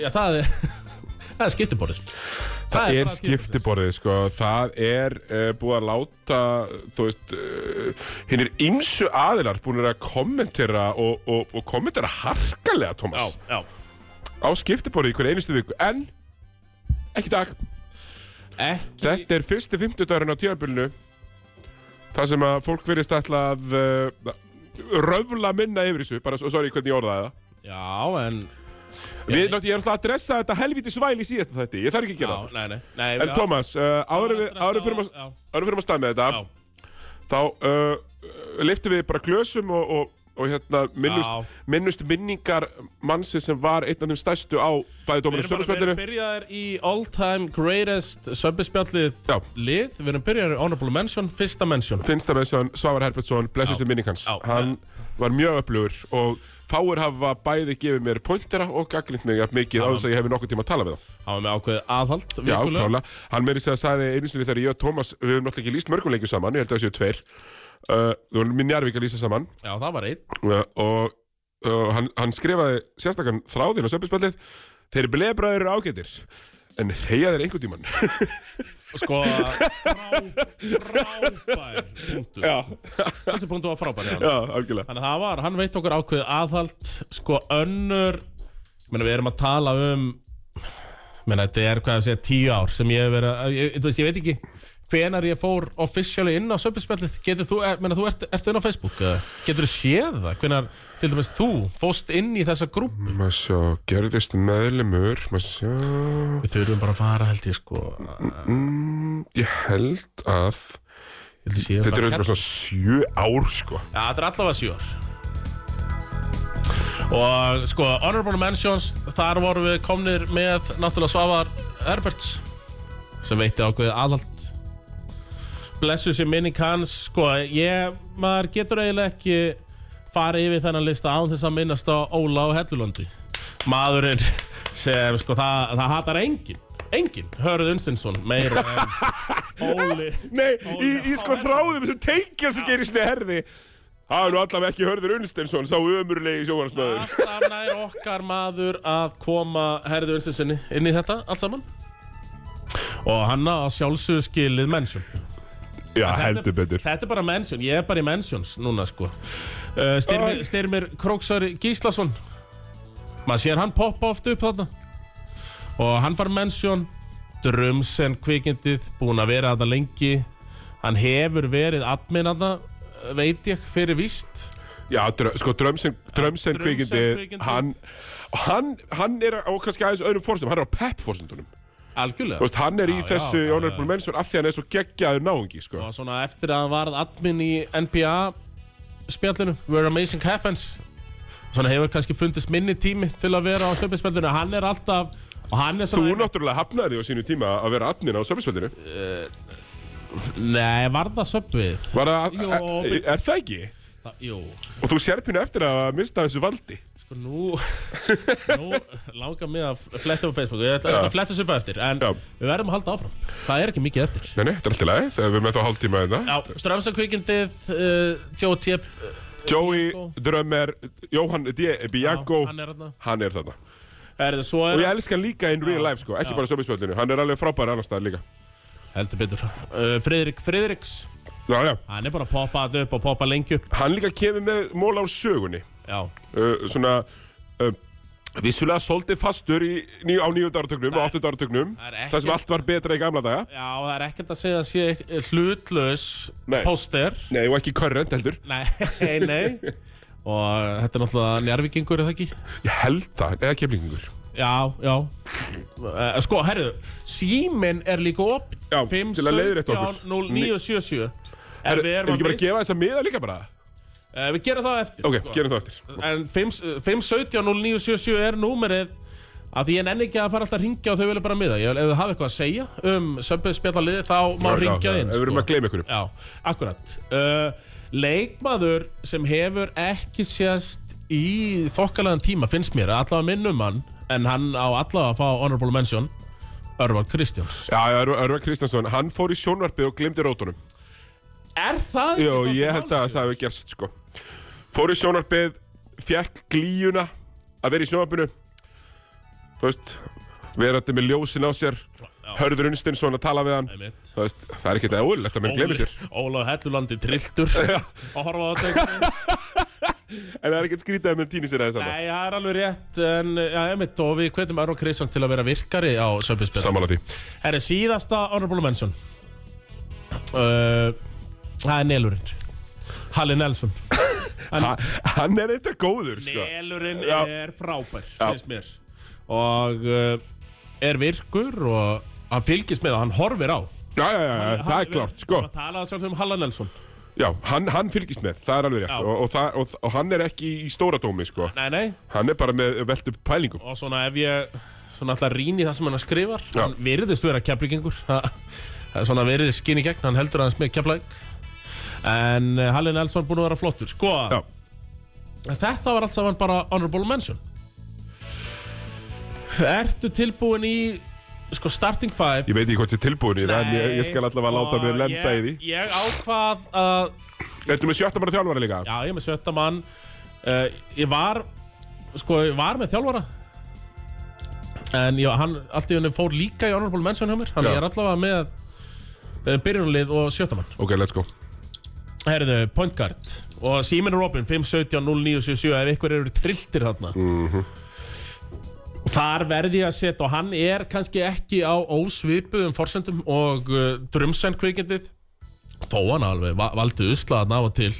já það er [LAUGHS] Það er skiptiborðið
Það er
bara tímabilsins.
skiptiborðið, sko. Það er uh, búið að láta, þú veist, uh, hinn er ymsu aðilar búin að kommentera og, og, og kommentera harkalega, Thomas,
Já, já
á skiptiborðið í hverju einustu viku. En, ekki í dag,
Ekki
Þetta er fyrsti 50 dagurinn á tíðabillinu Það sem að fólk verðist ætla að eh, uh, röfla minna yfir þessu bara svo sorry hvernig ég orðaði það
Já, en
Við, náttúrulega, ég er alltaf að dressa þetta helvítið svæl í síðasta þætti, ég þarf ekki að gera
Já,
þetta.
nei, nei, nei
En
já,
Tómas, uh, áður
Já, dressa
áður fyrir
á- já.
að áður fyrir að stað með þetta,
Já,
þá uh, liftum við bara glösum og, og, og hérna,
Já.
minnust, minnust minningar mannsins sem var einn af þeim stærstu á bæði
við
dómarinn
erum bara við erum
Sörnspjallinu.
byrjaðir í all time greatest sömbespjallið
Já.
lið Við erum byrjaðir í honorable mention, fyrsta mention
Finnst að með þessan Svavar Herbertsson, blessist í minning hans.
Já.
Hann var mjög öflugur og fáir hafa bæði gefið mér pointera og gagnlint mig jafn mikið á þess að ég hefði nokkuð tíma að tala við þá.
Það var með ákveðið aðhald
Já,
vikulega.
klálega. Hann meiri segja að sagði einu sinni þegar ég og Tómas, við höfum náttúrulega ekki líst mörgum leikjum saman, ég held að það séu tveir. Uh, þú erum minn Jarvík að lýsa saman
Já, það var einn
uh, og uh, hann, hann skrifaði sérstakann þráðinn á söpinspallið Þeir blebræður eru ágætir, en þeia þeir einhvern tímann.
Sko, frá, frábær punktur Þessi punktur var frábær, já
[LAUGHS] Já, algjörlega.
Þannig að það var, hann veit okkur ákveðið aðhald Sko önnur ég meina, Við erum að tala um ég meina, Þetta er hvað að segja tíu ár sem ég hef verið að- ég, þú veist, ég veit ekki hvenar ég fór officially inn á söpinspjallið Getur þú, ég meina, þú ert, ert inn á Facebook eða? Getur þú séð það? Hvenar, til dæmis þú, fóst inn í þessa grúpu
Maður sjá, gerðist meðlumur, maður sjá,
Við þurfum bara að fara held ég sko
ég held að, þetta eru eitthvað svona sjö ár, sko.
Já, þetta er allavega sjór Og sko, Honorable Mentions Þar vorum við komnir með Náttúrulega Svavar Herberts Sem veitti ákveðið aðhald Blessu sér minning hans Sko, ég, maður getur eiginlega ekki Farið yfir þennan lista án þess að minnast á Óla og Hellulondi Maðurinn sem, sko, það, það hatar enginn Enginn, Hörð Unstinsson Meira en Óli
Nei, í, í sko þráðum sem tengja sem gerir sinni herði. Það er nú allavega ekki hörður Unnsteinsson, sá ömurlegi sjóhansmaður.
Alltaf nær okkar maður að koma herðu Unstensinni inn í þetta allt saman Og hann á sjálfsögðu skilið mennsjón
Já, heldur betur.
Þetta er bara mennsjón, ég er bara í mennsjóns núna sko uh, Styrmir,
Æ.
styrmir Króksari Gíslason Maður sér hann poppa oft upp þarna Og hann far mennsjón Drumsen kvikindið Búin að vera þetta lengi Hann hefur verið admin þarna Veit ég fyrir víst
Já, drö, sko, Drömsen, Drömsen
Drömsen
kvikindi,
kvikindi.
hann, hann, hann er á kannski aðeins öðrum fórsendum, hann er á PEP-fórsendunum.
Algjörlega
Þú veist, hann er í
Já, já,
þessu
já,
honorable
já.
mention af því hann er svo geggjaður náungi, sko.
og svona eftir að hann varð admin í NBA spjallinu Where Amazing Happens svona hefur kannski fundist minni tími til að vera á söpinspjallinu hann er alltaf og hann er
Þú
svona
náttúrulega hafnaði því á sínu tíma að vera admin á söfnspöldinu.
nei, var það söpvið?
Var það,
Jó,
er, er það ekki?
Jú,
Og þú sér pínu eftir að mista þessu valdi.
sko nú [LAUGHS] nú langar mig að fletta upp á Facebook ég ætla
Já.
ekki að fletta þessu upp á eftir en
Já.
við verðum að halda áfram það er ekki mikið eftir
Nei, nei, þetta er alltaf leið, þegar við erum með þá hálftíma hérna.
Já, Strömsakvikindið, uh, Joe Tjep,
Joey,
Bianco.
Drömmer, Jóhann D. Bianco,
hann er þarna.
hann er þarna.
er það svo
Og
er
ég elska hann líka in real life, sko, ekki bara söfnspöldinu. Hann er alveg frábæri annars staðar líka.
heldur betur, uh, Friðrik Friðriks,
Já, já.
hann er bara að poppa þetta upp og poppa lengi upp,
Hann líka kemur með móla úr sögunni.
já,
uh, svona uh, vissulega svolítið fastur í, ní, á nýjönda áratögnum og áttunda áratögnum
það er ekkert-
þar sem allt var betra í gamla daga
Já, það er ekkert að segja að sé eh, hlutlaus
Nei.
póster.
Nei, og ekki körrent heldur
Nei, nei. Og þetta er náttúrulega njárvikingur, er það ekki?
Ég held það, eða kemlingur
Já, já. Eh, Sko, herru, síminn er líka upp.
Já, til að leiðrétta okkur.
0977. En
Er,
við
er
erum
ekki bara að gefa þess að miða líka bara?
Eh, Við gerum það eftir.
Ok, gerum það eftir
En 517-0977 er númerið að því ég nenni ekki að fara alltaf að ringja og þau vilja bara miða. Ég, ef þau hafa eitthvað að segja um sömböðspjallaliði þá má
Já, já,
ringja
já,
inn.
Ef við erum
sko.
að gleyma ykkur
Já, akkurat uh, Leikmaður sem hefur ekki sést í þokkalagan tíma finnst mér allavega minnum hann en hann á allavega að fá honorable mention Örvar Kristjáns
Já, já, Örvar Kristjánsson, hann fór í sjónvarpið og glemdi rótunum
Er það?
Jó, ég held að það hefði gerst, sko Fór í sjónvarpið, fekk glíjuna að vera í sjónvarpinu Þú veist, verandi með ljósin á sér Hörður Unstinsson að tala við hann
Einmitt.
Það, veist, það er ekki þetta ólega að menn glemir sér
Ólaf Hellulandi
[LAUGHS]
trilltur og horfa á þetta
En það er ekkert skrítið að menn týni sér aðeins saman
Nei, það er alveg rétt en, já, einmitt, og við hvetjum Örvar Kristjáns til að vera virkari á Söpinspjall
Samála því
Herri, síðasta honorable mention uh, Það er Nelurinn Halli Nelson
ha, Hann er eitthvað góður sko.
Nelurinn
Já.
er frábær
Já.
finnst mér og uh, er virkur og hann fylgist með og hann horfir á
Já, já, já, já, það er klárt, sko
Það talaði sjálfsögum um Hallan Nelson
Já, hann, hann fylgist með, það er alveg
Já.
rétt og, og, það, og, og hann er ekki í stóra dómi, sko
Nei, nei,
Hann er bara með velt upp pælingum
og svona ef ég svona alltaf rýni það sem hann skrifar
Já.
hann virðist vera [LAUGHS] keflingengur svona virðist skinni gegn, hann heldur aðeins með keflæk en eh, Halli Nelson búin að vera flottur sko,
Já.
þetta var allt saman bara honorable mention Ertu tilbúin í sko starting five
Ég veit ekki hvort sé tilbúin í það, en ég, ég skal allavega láta
og
mig lenda í því
ég, ég ákvað að
Ertu með sjötta bara þjálfara líka?
Já, ég er með sjötta mann uh, Ég var Sko, ég var með þjálfara En já, hann Allt í henni fór líka í honorable mention hjá mér Þannig
Já.
ég er allavega með uh, Byrjunlið og sjötta mann
Ok, let's go
Herðu, point guard Og Simon Robin, 5.17.09.77 Ef ykkur eru trilltir þarna mm -hmm. Þar verði ég að setja Og hann er kannski ekki á ósvipuðum forsendum Og uh, drumsend kvikindið Þó hann alveg va valdi uslaðan af og til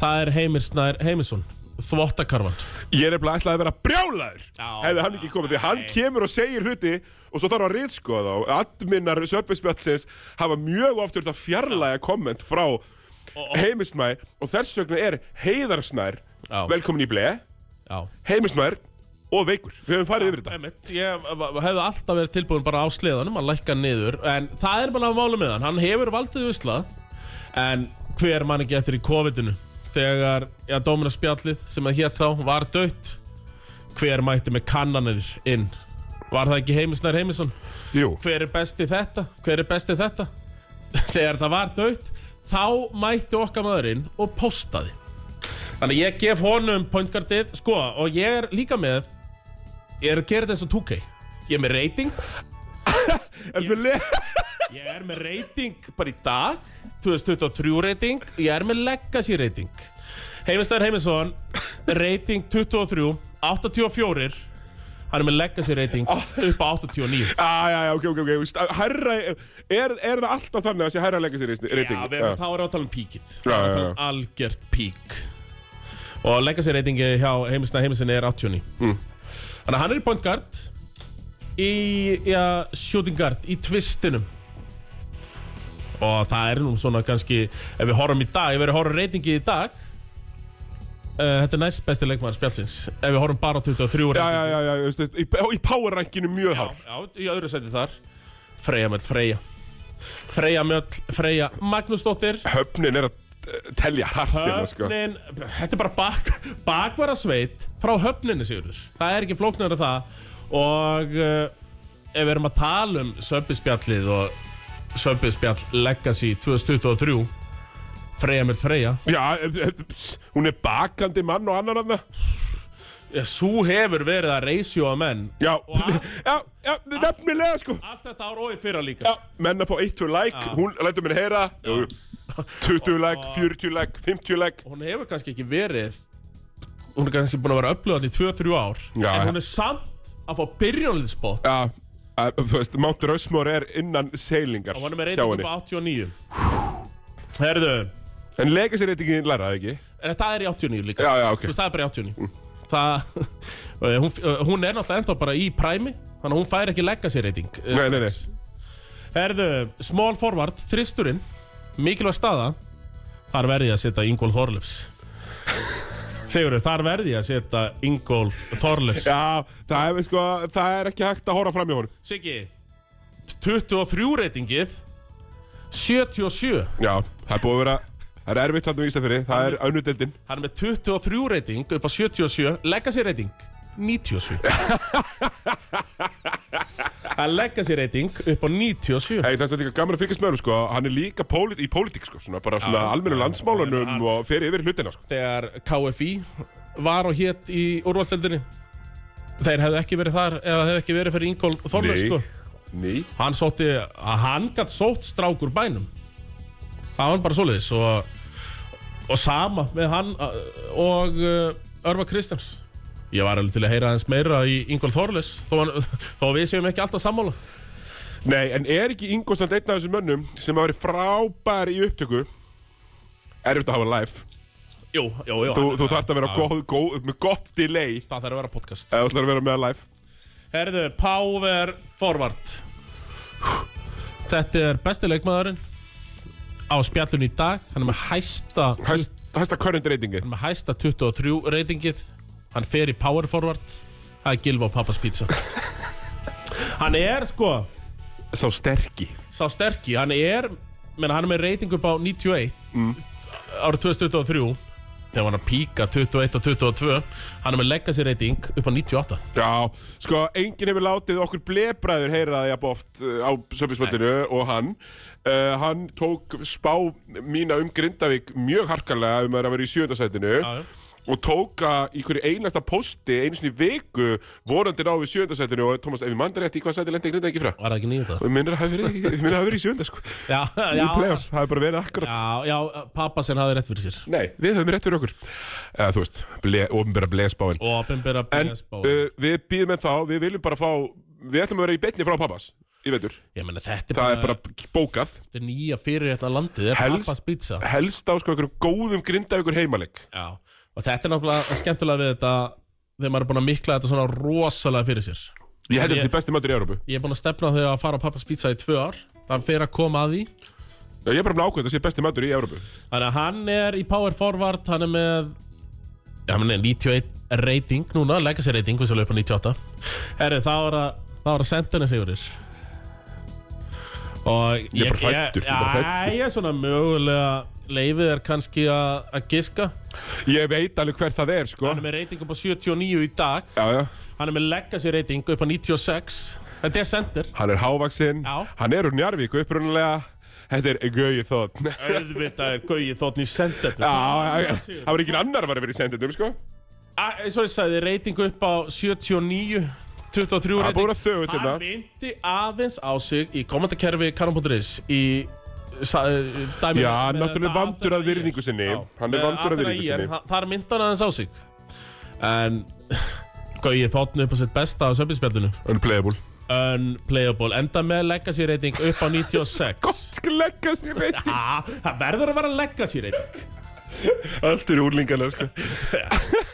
Það er Heimir Snær Heimisson Þvottakarvan
Ég er nefnilega ætlaði að vera brjálaður
Já,
Hefði hann ekki komið, því hann kemur og segir hluti Og svo þarf að reyðskoða þá Adminar Söpinspjallsins hafa mjög oft þurft að fjarlæga komment frá Heimismæ Og þess vegna er Heiðarsnær
Já.
Velkomin í ble
Já
Heimismær og Veikur Við höfum farið yfir þetta
Einmitt, ég va- va- hefði alltaf verið tilbúin bara á sleðanum að lækka niður En það er bara að mála með hann, hann hefur valdið usla En hver mann ekki eftir í COVID-inu Þegar, já, Dómina spjallið sem að hétt þá var dött Hver mætti með kannanir inn Var það ekki Heimisnær Heimisson?
Jú,
Hver er bestið þetta? Hver er bestið þetta? [LAUGHS] Þegar það var dött Þá mætti okkar maðurinn og postaði Þannig að ég gef honum pointgardið Sko, og ég er líka með Ég er að gera þetta eins og 2K Ég er með rating
er með le [LAUGHS]
Ég er með rating bara í dag 2023 rating Ég er með legacy rating Heimistæður Heimisson Rating 23 84 Hann er með legacy rating upp á 89
Æja, Ah, ok, ok, ok st- Herra, er, er það alltaf þannig að sé herra leggja sér reyting?
Já, við erum þá erum við að tala um píkið Þá
Já,
erum við að
já,
tala um algjört pík Og legacy reytingi hjá heimisna heimisna er 89
Mm.
Þannig að hann er í point guard Í ja, shooting guard Í tvistinum Og það er nú svona kannski Ef við horfum í dag, ef við erum að horfa á reytingi í dag uh, Þetta er næst besti leikmaður spjallins Ef við horfum bara á 23
Já,
reytingi
já, já, já, já, veist, í, í power rankinu mjög hár
Já, í öðru seti þar Freyja Mjöll, Freyja Freyja Mjöll, Freyja Magnúsdóttir
höfnin er að eh, telja hart hérna, sko.
Höfnin, þetta er bara bak, bakvara sveit frá höfninni sigurður Það er ekki flóknar að það Og uh, ef við erum að tala um Söbbispjallið og Söbbispjall Legacy 2023 Freyja með Freyja
Já, eh, eh, ps, hún er bakandi mann og annan af það.
Sú hefur verið að reysjóa menn
Já,
Og-
já, já, nefnilega, sko.
Allt þetta ár og í fyrra líka
Já, menn að fá 1-2 like, hún lætur mér heyra. Jú, jú. 20 like, 40 like, 50 like.
Hún hefur kannski ekki verið Hún er kannski búin að vera upplöðan í 2-3 ár
Já,
En
ja.
hún er samt að fá byrjónliðspott
Já, eh, þú veist, Mount Rushmore er innan seilingar
Og hann er með
hjá
reyting upp
henni.
á 89 Herðu,
En lega sér reytingin læraði ekki.
en þetta er í 89 líka
Já, já,
Þú
ok.
veist, það er bara í 89 Það, [LAUGHS] eh, hún, eh, hún er náttúrulega ennþá bara í præmi Þannig að hún fær ekki leggja sér reyting eh,
Nei, nei, nei.
strax. Herðu, small forward, þristurinn Mikilvæg staða Þar verði ég að setja Ingolf Þorlefs Sigurður, þar verði ég að setja Ingolf Þorlefs
Já, það er, sko, það er ekki hægt að hóra fram í honum.
Siggi 23 reytingið 77
Já, það er búið að vera, það er erfitt hann um Ísafjörði, það er önnudeldin.
Hann er með 23 reyting upp á 77 Legacy reyting 97 Hann legacy reyting upp á 97
Hey, það er líka gaman að fylgjast með hann, sko. Hann er líka pólit, í pólitík, sko. Svona bara svona
Já,
almennu
já,
landsmálunum
hann-
og fer yfir hlutina, sko.
Þegar KFI var og hétt í úrvalstöldinni Þeir hefðu ekki verið þar eða hefðu ekki verið fyrir Ingól Þorlur sko
Nei.
Hann sótti að hann gætt sótt strák úr bænum Það var bara svoleiðis og, og sama með hann uh, og uh, Örva Kristjáns Ég var alveg til að heyra aðeins meira í Ingól Þorlus þó, hann- [LAUGHS] þó við séum ekki alltaf sammála
Nei, en er ekki Ingolstand einn af þessum mönnum sem hafa verið frábær í upptöku? Erfitt að hafa live.
Jú, jú, jú
Þú,
hann-
þú þarft að vera góð, góð, með gott delay ef
Það þarf að vera podcast
þú ætlar að vera með live.
Herðu, Power Forward Þetta er besti leikmaðurinn á spjallun í dag Hann er með hæsta
Hæst, hæsta current ratingi
með hæsta 23 reytingið hann fer í power forward það er Gilva og pappas pizza hann er sko
Sá sterki
sá sterki, hann er menn hann er með reytingu upp á 91 árið 2023 þegar hann var að píka 21 og 22 hann er með legacy reyting upp á 98
Já, sko, enginn hefur látið okkur blebræður heyra það jafn oft uh, á söfismöllinu og hann. Uh, hann tók spá mína um Grindavík mjög harkalega um að það vera í sjöndasætinu
Já, já.
og tók að í hverju einasta posti einu sinni í viku vonandi ná við sjöndasætinu og Thomas, ef ég mann rétt í hvað sæti lendi Grindavík í frá?
var það ekki nýjum það?
Og ég minnir að hafa verið, ég minnir að hafa verið í sjönda, sko.
já,
Í
já,
play-offs, það hefur bara verið akkurat.
já, já pappa sem hafði rétt fyrir sér
Nei, við höfum rétt fyrir okkur. Eða, þú veist, ble, ofinbæra blespáin.
og opinbera
En
BSB.
uh, við býðum en þá, við viljum bara fá Við ætlum að vera í beinni frá pappans Í veitur,
ég meina þetta er
það er
bara,
bara bókað
þetta er nýja fyrir þetta landið þetta er
Helst-
pappas pizza
Helst á sko einhverjum góðum grindavíkur heimaleg
Já, og þetta er náttúrulega skemmtilega við þetta þegar maður er búin að mikla þetta svona rosalega fyrir sér
Ég held að
Ég-
þetta er besti matur í Európu
Ég er búin að stefna þau að fara á pappas pizza í tvö ár Það fer að koma að því
Ég er bara með ákveð að þetta sé besti matur í Európu
Þannig að hann er í power forward Hann er með Já, hann er 91 rating núna Legacy rating, við svolítið upp á 98 Herri, þá er að þá er að senda henni sigur þér Og ég,
bara hræddur, ég
ég,
er bara hræddur.
Já, ég er svona mögulega Leifið er kannski að, að giska
Ég veit alveg hver það er sko
Hann er með rating upp á 79 í dag
Já, já,
Hann er með legacy rating upp á 96 Þetta er sendir
hann er hávaksinn
Já.
Hann er úr Njarvík upprunalega Þetta er Gauji Þótt Já,
Auðvitað er Gauji þóttn í sendir
[LAUGHS] já, já, það var ekki annar var að vera í sendindum sko
Svo ég sagði rating upp á 79 23
Það er búin að þau til
Hann
það
myndi aðeins á sig í komandakerfi Karan.is í sa- dæmi
Já, hann
með
náttúrulega
þetta
vandur að
Adana IR.
virðingu sinni.
Já,
Hann er
með
vandur að
Adana
virðingu
IR,
sinni.
hann- Þar myndi hann aðeins á sig En [LAUGHS] Gauji þóttn upp á sitt besta á sömbispjallinu
Unplayable
Unplayable, enda með legacy rating
[LAUGHS]
upp á 96
Skal leggja sér veit
[LAUGHS] Ah, það verður að vera að leggja sér eitt
Allt eru úrlingarlega sko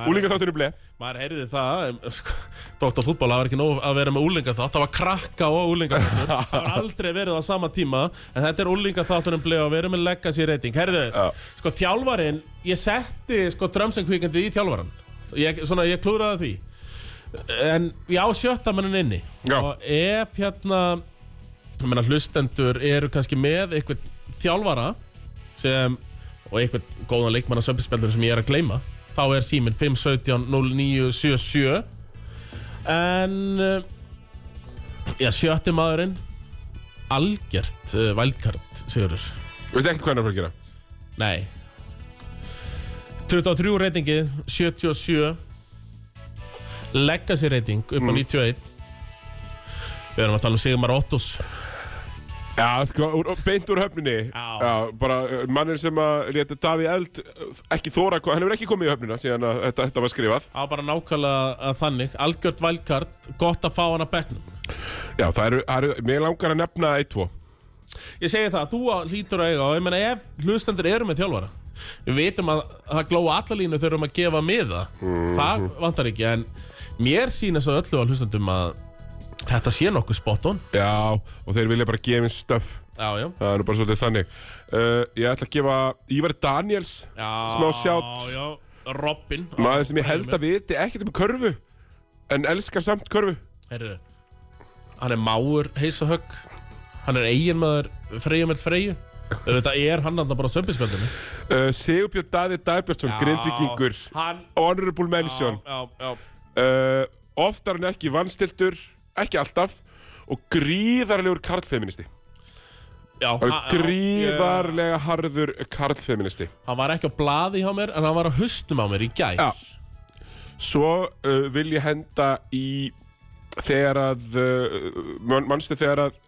Úrlingar þáttur er bleið
Maður heyrði það em, sko, Dóttar fútból, það var ekki nóg að vera með úlinga þátt Það var krakka og úlinga þáttur Það var aldrei verið á sama tíma En þetta er úlinga þáttunum bleið að vera með leggja sér eitt Heyrðu,
Já.
sko þjálfarin Ég setti sko drömsengvíkandi í þjálfaran ég, Svona, ég klúðraði því En ég á sjötta mannin inni
Já.
Og ef hérna ég meina, Hlustendur eru kannski með Eitthvað þjálfara sem, og einhvern góðan leikmann á sömpispjaldunum sem ég er að gleyma þá er síminn 517-0977 en uh, já, sjötti maðurinn algjört uh, vældkart, Sigurður
Þú veist ekkert hvað hann er að fara að gera
nei 23 reytingið 77 legacy reyting upp á 91 við erum að tala um Sigmar Ottos
Já, sko, úr, beint úr höfninni
Já.
Bara uh, mannir sem að létta Daví Eld uh, ekki þóra að ko- Hann hefur ekki komið í höfnina síðan að þetta, þetta var skrifað
á bara nákvæmlega eh, þannig algjört vældkart, gott að fá hann að bekknum
Já, það eru, það eru mér langar að nefna eitt, tvo
Ég segi það, þú á- hlýtur að eiga og ég meina ef hlustendur eru með þjálfara við veitum að það glóa alla línu þegar um að gefa miða það vantar ekki en mér sýnir svo öllu á hlustendum að þetta sé nokkuð spot on
Já, og þeir vilja bara gefa inn stöf
Já, já
Það er nú bara svolítið þannig uh, Ég ætla að gefa Ívar Daniels Smá sjátt
Já, Robin
Maður sem ég held að viti ekkert um körfu En elskar samt körfu
Heyrðu, hann er máur heis og högg hann er eiginmaður freyjumeld freyju Þetta er hann andan bara á sömbispjöldinu
uh, Sigurbjörn Daði Dagbjörnsson, grindvikingur
Hann
Honorable mention
Já, já,
uh, oftar en ekki vannstiltur, ekki alltaf og gríðarlegur karlfeministi
já,
Hann
já,
er
já.
gríðarlega harður karlfeministi
Hann var ekki á blaði hjá mér En hann var á hustum á mér í gær
Já. svo uh, vil ég henda í þegar að uh, mannstu þegar að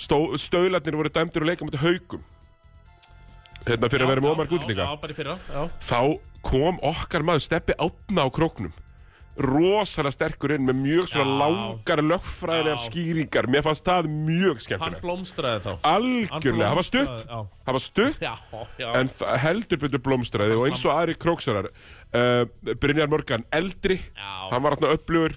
stó, stöðlarnir voru dæmdir og leika mútið haugum hérna fyrir að vera með Ómar Gullninga
Já, bara í fyrra já.
þá kom okkar maður steppi átna á króknum rosalega sterkur inn með mjög svona
Já.
langar lögfræðilegar
Já.
skýringar mér fannst það mjög
Hann
skemmtilegt
blómstraði þá
algjörlega, það var stutt
Já.
það var stutt
Já, já
en það heldur betur blómstræði og eins og aðri króksarar uh, Brynjar Morgan eldri
Já.
hann var hann upplugur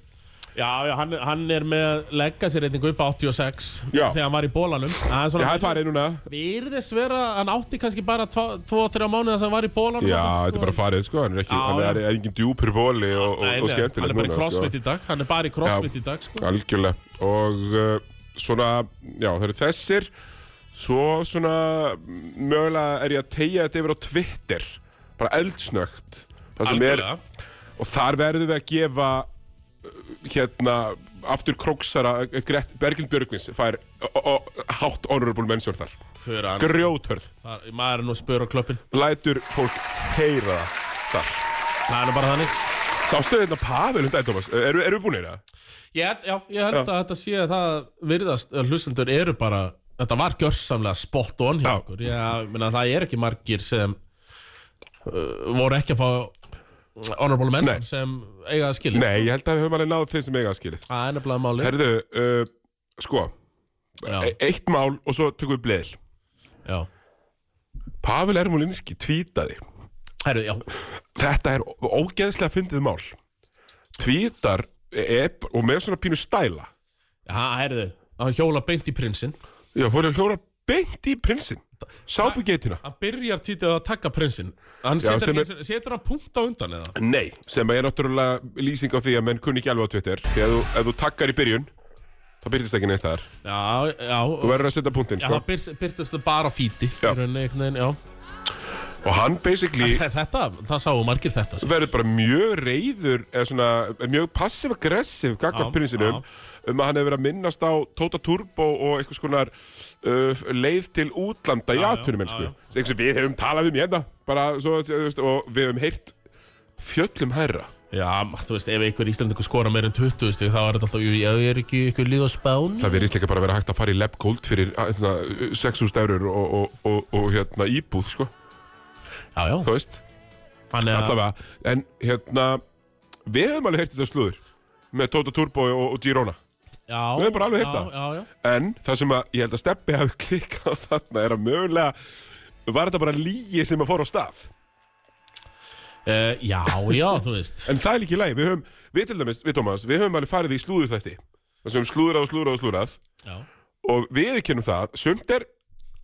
Já, já, hann, hann er með legacy-reytingu upp á 86
Já.
þegar hann var í bólanum Það er
Ég
svona
hafði farið núna
Virðist vera, hann átti kannski bara 2-3 mánuði þess að hann var í bólanum
Já,
Hann-
þetta er bara farið, sko Hann er ekki,
Já,
hann er,
já.
er engin djúpur voli og, og,
Nei,
og
nei,
skemmtileg
Hann er bara í
núna, sko.
crossfit í dag Hann er bara í crossfit í dag, sko
Algjörlega Og uh, svona, já það eru þessir Svo svona Mögulega er ég að tegja þetta yfir á Twitter Bara eldsnögt Það sem er,
Algjörlega.
og þar verðum við að gefa uh, Hérna Aftur króksara uh, Gret- Berglind Björgvins Fær uh, uh, hátt honorable mention þar
Hver er hann?
Grjóthörð
Þar- Maður er nú að spura á klöppin
Lætur fólk heyra það Þar
Það er nú bara þannig
Sástu hérna Pavel um daginn, Thomas? Eru, eru við búinir það?
Ég held, já, ég held
Já.
að þetta sé að það virðast að hlustendur eru bara þetta var gjörsamlega spot on hjá
Já.
okkur ég meina það er ekki margir sem uh, voru ekki að fá uh, honorable
Nei.
menn sem eiga að skilja
Nei, ég held að við höfum alveg náð þeim sem eiga að skilið.
það er nefnilega máli
Herðu, uh, sko, e
já,
eitt mál og svo tökum við bleðil.
já.
Pavel Ermolinski tvítaði.
Herru, já,
Þetta er ó- ógeðslega fyndið mál. Tvítar e e- og með svona pínu stæla.
já, herðu hann hjóla beint í prinsinn
Já, fóru að hjóra beint í prinsinn. Sápugeitina.
hann byrjar títið að taka prinsinn hann
Já,
setur,
sem
er... setur hann punkt á undan eða
Nei. Sem er náttúrulega lýsing á því að menn kunni ekki alveg á Twitter. Því að þú, ef þú takkar í byrjun, þá byrjist ekki neist þar.
já, já,
Þú verður að setja punktinn,
já
sko.
það byr- byrtist það bara á fíti
Já.
í rauninni, einhvern veginn, já.
Og hann
[LAUGHS]
basically...
þetta, það sáu margir þetta sko.
verður bara mjög reyður eða svona mjög passiv-aggressiv gagvart
Já,
prinsinum um að hann hefur verið að minnast á Tóta Turbo og eitthvað skonar uh, leið til útlanda í
já,
atvinnum
já, já.
eitthvað sem við hefum talað um hérna bara svo þú veist, og við hefum heyrt fjöllum hærra
Já, þú veist, ef einhver Íslandingur skora meir en 20 stig, þá er þetta alltaf, jú, ég er ekki einhver lið á spán
það verðist líka bara að vera hægt að fara í lab gold fyrir hérna, 6.000 eurur og, og, og, og hérna, íbúð sko,
Já, já,
þú veist
þannig að
allavega, en hérna við hefum alveg heyrt þetta slúður með Tóta Turbo og, og Girona
Já,
við höfum bara alveg heyrt
já,
það.
Já, já,
En það sem að ég held að Steppi hafi [LAUGHS] klikkað á þarna er að mögulega var þetta bara lígi sem að fór á stað
uh, já, já, þú veist
En það er ekki í lagi, við höfum, við til dæmis, við Tómas, við höfum alveg farið í slúður þætti Það sem við höfum slúðrað og slúðrað og slúðrað
Já,
Og við kennum það, sumt er,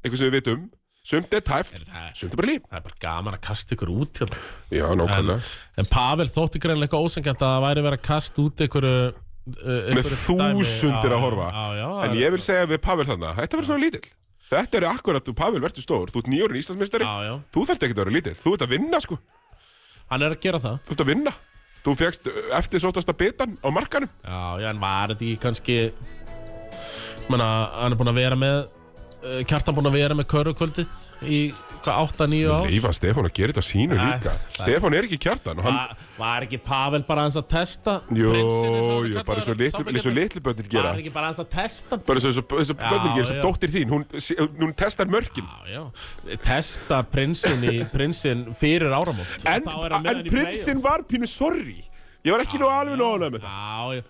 eitthvað sem við vitum, sumt er tæft,
Er það-
sumt er bara líf
það er bara gaman að kasta ykkur út hérna
Já,
En,
nákvæmlega
en Pavel þótti greinlega eitthvað ósengjant að það væri verið að kasta út einhverju uh,
Með þúsundir að horfa
Já, já,
En ég vil segja við Pavel þarna, þetta verður svona lítill Þetta eru akkurat, Pavel verður stór, þú ert nýjórinn Íslandsmeistari
Já, já,
Þú þarft ekki að vera lítill, þú ert að vinna sko
hann er að gera það
þú ert að vinna Þú fegst eftir sótasta bitan á markanum
Já, já, en var þetta ekki kannski Menna, hann er búinn að vera með uh, Kjartan búinn að vera með körukvöldið Í hvað, 8-9 ár
Leifa Stefán að gera þetta sínu
Nei,
líka
það-
Stefán er ekki kjartan og hann,
Va, Var ekki Pavel bara aðeins að testa
Jó,
prinsinn, eins og hann
jú,
kallar
bara svo
hann,
litlu,
samfélagið?
eins og litlu bönnir gera
Var ekki bara aðeins að testa
Bara svo þessu
Já,
bönnir gera, sem
já.
dóttir þín Hún, sé- hún testar mörkin
Já, já, testa prinsinn í prinsinn fyrir áramót
En,
Þá er hann með
en
hann í
prinsinn var pínu sorry Ég var ekki nú alveg nóðlega með það
playoff. Já, já,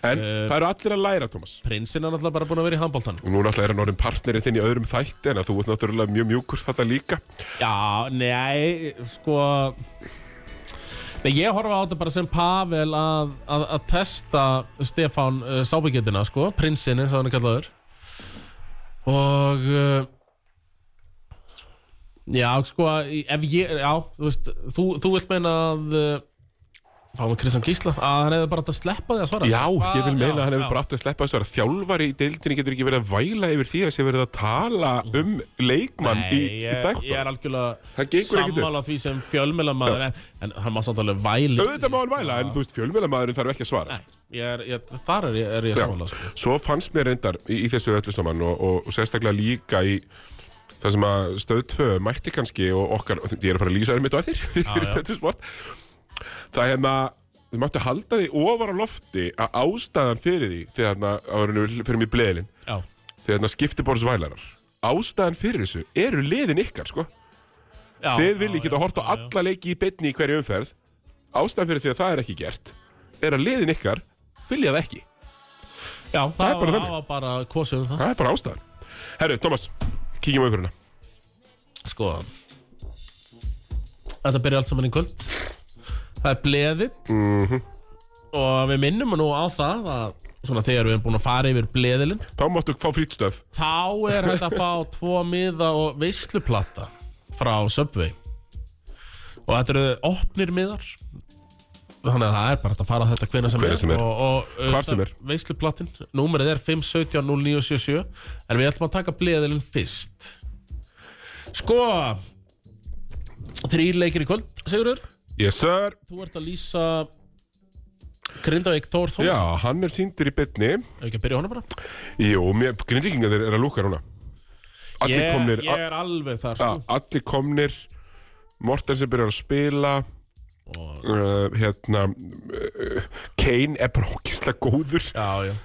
En það eru allir að læra, Thomas
prinsinn er náttúrulega bara búinn að vera í handbóltan
Og nú náttúrulega er hann orðin partnerið þinn í öðrum þætti En að þú ert náttúrulega mjög mjúkur þetta líka
Já, nei, sko Nei, ég horfa á þetta bara sem Pavel að, að, að testa Stefán uh, sábyggetina, sko Prinsinn, eins og hann er kallaður Og uh, Já, sko, í- ef ég, já, þú veist Þú, þú vilt meina að uh, Fáum við Kristján Gísla Að hann hefði bara átt að sleppa því að svara
Já, ég vil
Hvað-
meina að
já,
hann
já.
hefur bara átt að sleppa þessu að þjálfari í deildinni getur ekki verið að væla yfir því að sé verið að tala um leikmann
Nei,
í, í
ég,
þættan
ég er
Það
algjörlega
gengur ekkert upp.
sammála því sem fjölmjölamæður en, en hann má samt alveg væli
Auðvitað má hann væla, en þú veist, fjölmjölamæðurinn þarf ekki að svara
Nei, ég er, ég, þar er ég, er ég
Já.
sammála sko.
Svo fannst mér reyndar í, í þessu öllu saman og, og, og sérstaklega líka í það sem að stöð 2 mætti kannski og okkar, ég er að fara að lýsa þér mitt og eftir [LAUGHS] í
já.
stöð 2 sport það er hérna, þau máttu halda því ofar á lofti að ástæðan fyrir því þegar hérna, árinu fyrir mig bleðilinn
Já,
þegar hérna skiptiborðsvælarar ástæðan fyrir þessu eru liðin ykkar sko
já
Þið viljið
já,
geta
já,
hort á
já, já.
alla leiki í beinni í hverju umferð Ástæðan fyrir því að það er ekki gert Er að liðin ykkar vilja það ekki
Já, það
er bara
var-
þannig.
það var bara kosið um það
Það er bara ástæðan Herru, Thomas, kíkjum á umferðina
Sko
Mhm.
Þetta byrja allt saman í kvöld Það er bleðill og við minnum nú á það að svona þegar við erum búin að fara yfir bleðilinn
Þá máttu fá frítstöf
þá er hægt að fá tvo miða og veisluplata frá Subway og þetta eru opnir miðar þannig að það er bara hægt að fara þetta hvena sem,
Hvenær sem er.
og, og
Hvar sem er.
veisluplatin, númerið er 5170977 en við ætlum að taka bleðilinn fyrst sko þrýr leikir í kvöld, Sigurður
Yes sir
þú ert að lýsa Grindavík Þór Þór
Já, hann er sýndur í bytni
Ef ekki að byrja á honum bara
Jú, mér- grindvíkingar þeir eru að lúka núna Allir
Ég-
komnir
Ég er alveg
a,
þar sko
Allir komnir Mortensen byrjar að spila uh, Hérna uh, Kane er bara ókislega góður
Já, já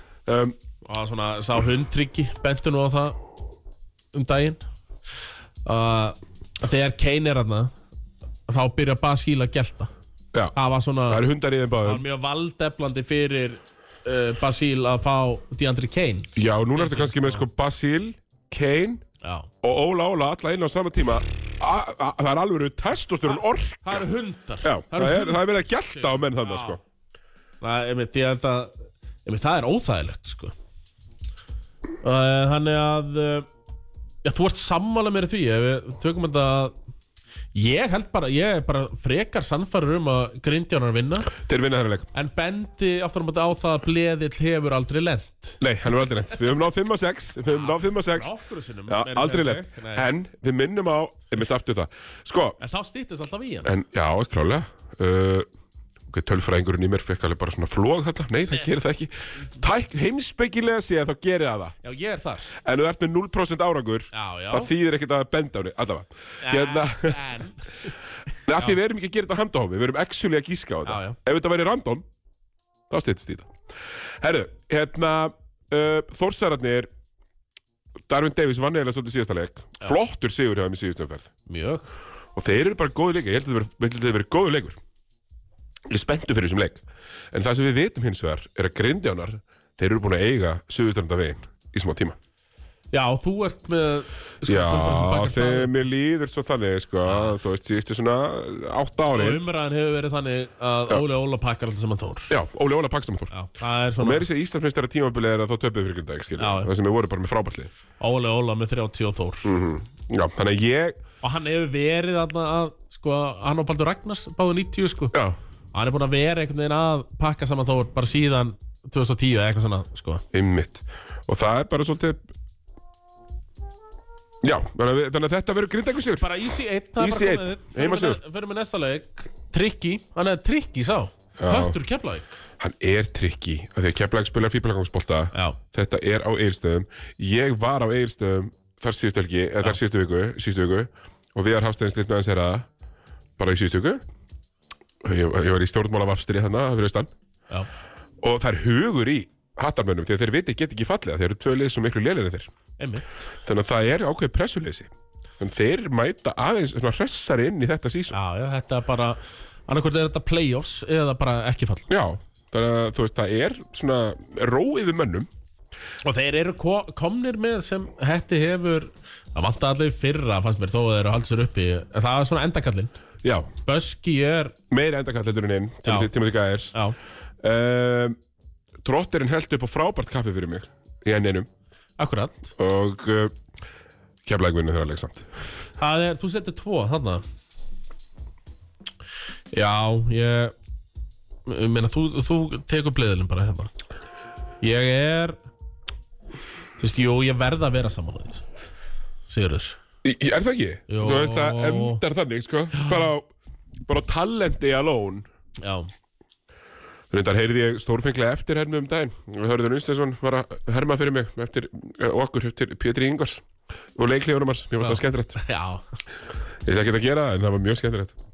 um,
og svona sá hundtryggi bentu nú á það um daginn uh, þegar Kane er hann þá byrja Basíl að gelta
Já,
það var svona
það eru hundar í þeim
það var
báðum
mjög valdeflandi fyrir uh, Basíl að fá Deandre Kane
Já, núna ertu kannski með sko Basíl Kane
já.
og Óla Óla alla inn á sama tíma a, a, Það er alveg testosturinn ork
það eru hundar
Já, það er, það er verið að gælta á menn
Já.
þannig sko
það, einmitt, ég held að einmitt, það er óþægilegt sko. uh, þannig að uh, já, þú ert sammála mér í því ef við tökum þetta ég held bara, ég er bara frekar sannfærir um að grindjánar vinna
Þeir vinna þennan leik
en bendi aftur á móti á það að bleðill hefur aldrei lent
Nei, hann er aldrei neitt Við höfum náð 5 og 6 Við höfum náð 5 og 6
Nokkru sinnum,
Já,
meira að segja
aldrei
en
lent
ég. Nei.
En við minnum á Ég myndi aftur það Sko,
en þá stýttist alltaf í hann
en já, klálega uh, Ok, tölfræðingurinn í mér fekk alveg bara svona flóð þetta Nei, það gerir það ekki Tæk, heimspekilega séð þá gerir það það
já ég er þar
En þú ert með 0% árangur
Já, já.
Það þýðir ekkert að benda á henni Allavega Hérna
en,
Nei, af því við erum ekki að gera þetta handahófi, við erum actually að gíska á þetta.
Já, já.
Ef þetta væri random, þá stýttist í þetta. Herru, hérna, uh, Þórsararnir, Darvin Davies vann eða svolítið síðasta leik. Flottur sigur hjá þeim í síðustu umferð.
mjög
Og þeir eru bara góðu leika, ég held að þetta veri- ég held að þetta verið góðu leikur. Ég er spenntu fyrir þessum leik. En það sem við vitum hins vegar er að grindjánar, þeir eru búin að eiga suðustranda veginn í smá tíma.
já þú ert með sko,
Já,
tölfræði sem bakar staðinn.
þegar mér líður svo þannig, sko, þú veist, síðustu svona átta
og
ári.
umræðan hefur verið þannig að Óli Óla pakkar alltaf sem hann tór
Já, Óli Óla Pakstamotor.
já, það er svona
Meiri sér Íslandsmeistara tímabili er að þá töpuðu fyrir Grindavík, skilja.
Já, já.
Það sem við vorum bara með frábærtlið.
Óli Óla með 30 og Þór
Mm. Já, þannig að ég,
og hann hefur verið þarna að sko, hann og Baldur Ragnars báðu 90 sko.
já,
hann er búin að vera einhvern veginn að pakka saman Þór bara síðan 2010 eða eitthvað svona sko.
einmitt. Og það er bara svolítið, já, þannig að, við, þannig að þetta verður Grindavík sigur.
bara easy 1 það er
Easy
bara
eitt,
komið. Förum
heima
við
sigur.
ne- förum við næsta leik Trikki, hann er Trikki sá höttur Keflavík
Hann er trikki, af því að Keflæk spilar fýblagangsbolta.
Já.
Þetta er á Egilstöðum. Ég var á Egilstöðum þar síðustu helgi, eða þar síðustu viku, síðustu viku. Og við erum hafstæðins litt með hans herra, bara í síðustu viku. Ég, ég var í stjórnmála vafstri þarna, fyrir austan.
já,
og það er hugur í hattarmönnum því að þeir viti get ekki fallið þeir eru tvö lið sem miklu lélir en þeir
einmitt
þannig að það er ákveð pressuleysi þannig að þeir mæta aðeins svona hressari inn í þetta sísum já.
já, já, þetta er bara annarkvort er þetta playoffs eða bara ekki fall
þannig að þú veist það er svona ró yfir mönnum
Og þeir eru ko komnir með sem hætti hefur Það vanta allir fyrra fannst mér þó að þeir eru haldsir uppi En það er svona endakallinn
já,
Böski er,
meira endakallendurinn inn til
Já.
því tíma því gæðis
já,
um, Trotterinn held upp á frábært kaffi fyrir mig í enninum
akkurat
og uh, keflægvinni þeirra leiksamt
Það er, þú setur tvo þarna Já, ég Ég meina, þú, þú tekur bleðilinn bara hérna Ég er Þú veist, jú, ég verð að vera saman á því samt. Sigurður
Í- í- Er það ekki?
Jó.
Þú veist það endar þannig sko bara á, bara á talenti alone
Já,
Reyndar heyrði ég stórfenglega eftir hermi um daginn. Hörður Unstensson var að herma fyrir mig eftir eh, og okkur, eftir Pétri Ingvars og leiklegunum hans. Mér fannst það skemmtilegt.
já
Ég ætla ekki að gera það, en það var mjög skemmtilegt.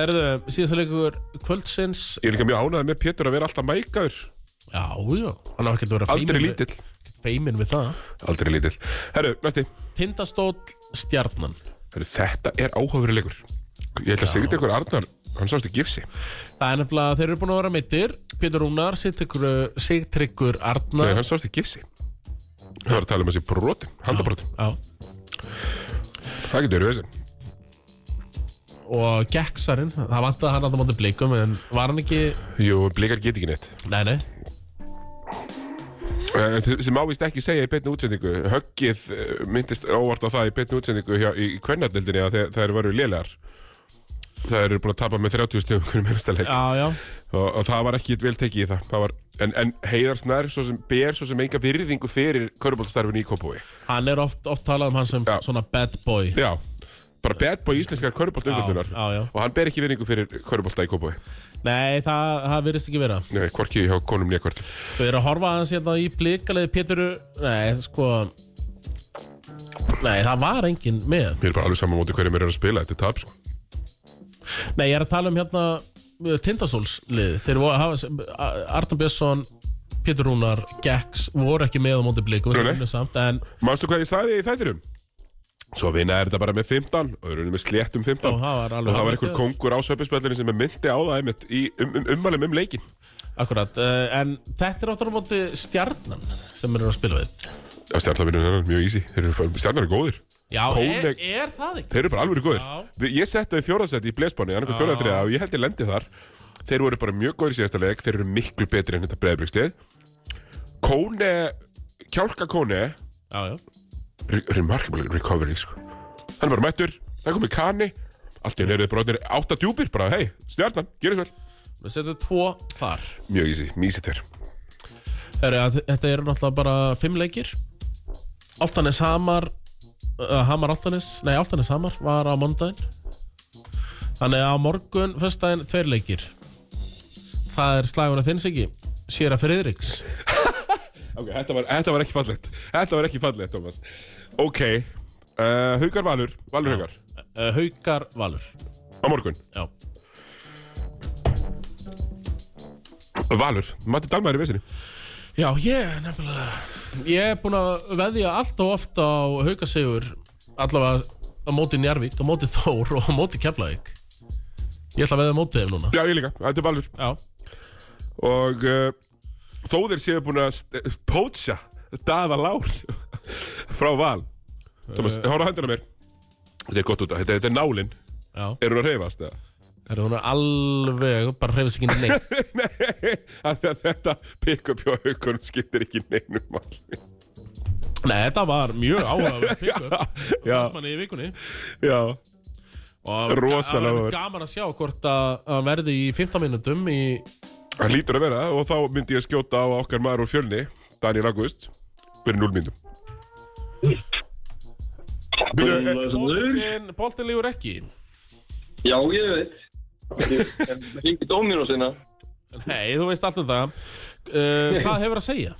Herðu, síðast að leikur kvöldsins
Ég er líka mjög ánægð með Pétur að vera alltaf mækaður.
Já, já, hann á ekkert að vera
Aldrei
feiminn
lítill.
við, feiminn við það
Aldrei lítill. Herru, næsti.
Tindastóll stjarnan
Herru, þetta er áhugaverið leikur. Ég ætla að segja þetta ykkur Arnar, hann sást í gifsi.
Það er nefnilega, þeir eru búin að vera meittir Pétur Rúnar, Sigtryggur, Sigtryggur
Nei,
Arnar
hann sást í gifsi. Það var að tala um þessi brotin, handabrotin.
Já,
Það getur verið þessi.
og Gekksarinn, það vantaði hann að það mátti blikum en var hann ekki,
Jú, blikar get ekki neitt
nei nei
Eh, En þið- sem ávist ekki segja í beinni útsendingu Höggið eh, myndist óvart á það í beinni útsendingu hjá, í kvennardeldinni að þe- þær eru lélegar Það eru búin að tapa með 30 stjóðum hvernig mennsta leik
Já, já,
og, og það var ekki vel tekið í það, það var, en, en Heiðar Snær svo sem ber svo sem enga virðingu fyrir köruboltastarfinu í Kópói
hann er oft, oft talað um hann sem
Já.
svona bad boy
Já, bara bad boy íslenskar körubolt
Já, já, já.
og hann ber ekki virðingu fyrir körubolta í Kópói
Nei, það, það virðist ekki vera
Nei, hvorki hjá konum nýja kvörl
Þau eru að horfa aðeins hérna í blíkaleði Péturu Nei, sko Nei, það var engin með
Mér er bara alveg saman móti hverju mér er að spila, þetta er tap sko.
Nei, ég er að tala um hérna uh, Tindastólslið Þeir voru að hafa Arnum Björnsson, Pétur Rúnar, Gex Voru ekki með á móti blíkum
Nei, nei.
samt, En
Manstu hvað ég sagði í þættinum? Svo vinna er þetta bara með 15 og eru með slétt um 15
Já, það var alveg-
og það var einhver kongur á söpispöllinu sem er myndi á það einmitt í um, um, ummælum um leikin
akkurat uh, En þetta er áttur á móti stjarnan Sem eru að spila við
Já, stjarnarvinnur hennar, mjög easy Þeir eru- Stjarnar er góður
Já, er,
Kónek-
er það ekki?
Þeir eru bara alveg góðir
Já.
Við- Ég setti þau í fjóðarsætti í blesbánu annarkoð fjóðarþriða og ég held ég lendi þar Þeir voru bara mjög góðir í síðasta leik Þeir eru miklu betri en þetta breyðbrygslið Kóne Kjálka Kóne
Já, já
re- Remarkable recovery sko. Hann var mættur, það komið Kani Allt í henni eru þeir bara orðnir átta djúpir bara, hei, stjarnan, gerist vel
Við setjum tvo þar
Mjög easy, mísið tver
Heru, þetta eru náttúrulega bara fimm leikir Altanes Hamar uh, Hamar Altanes, nei Altanes Hamar var á mondaginn Þannig að á morgun, föstudaginn, tveir leikir Það er slagur að þinns ekki Sýra Friðriks
Ok, þetta var, þetta var ekki fallegt Þetta var ekki fallegt, Thomas Ok, uh, Haukar Valur Valur Haukar,
uh, Haukar Valur
á morgun
Já,
Valur, Matti Dalmar í vesinni
Já ég nefnilega Ég er búin að veðja allt og oft á Haukasegur Allavega á móti Njarvík, á móti Þór og á móti Keflavík Ég ætla að veðja á móti þeim núna
Já, ég líka, þetta er Valur
Já,
og uh, þó þeir séu búin að st- pótsa daða lár [LAUGHS] frá val Thomas, uh, horfðu á hendina á mér þetta er gott út af, þetta, þetta er nálin
já
eru að reyfast eða [LAUGHS]
Herra, hún er alveg, bara hreyfist ekki neitt
Nei, af því að þetta pick-up hjá haukunum skiptir ekki neinu máli
Nei, þetta var mjög áhugaverð pick-up
[LAUGHS] já,
manni í vikunni
já,
og
Rosalega
það
áhugaverð.
var gaman að sjá hvort að að verði í 15 minútum í,
það lítur að vera og þá myndi ég skjóta á okkar maður úr fjölni Daniel August, fyrir 0 myndum Byrju, eh,
boltin, boltin lífur ekki
Já, ég veit. Ég ringi Dominosina.
Nei, þú veist allt um það uh, Hvað hefur að segja?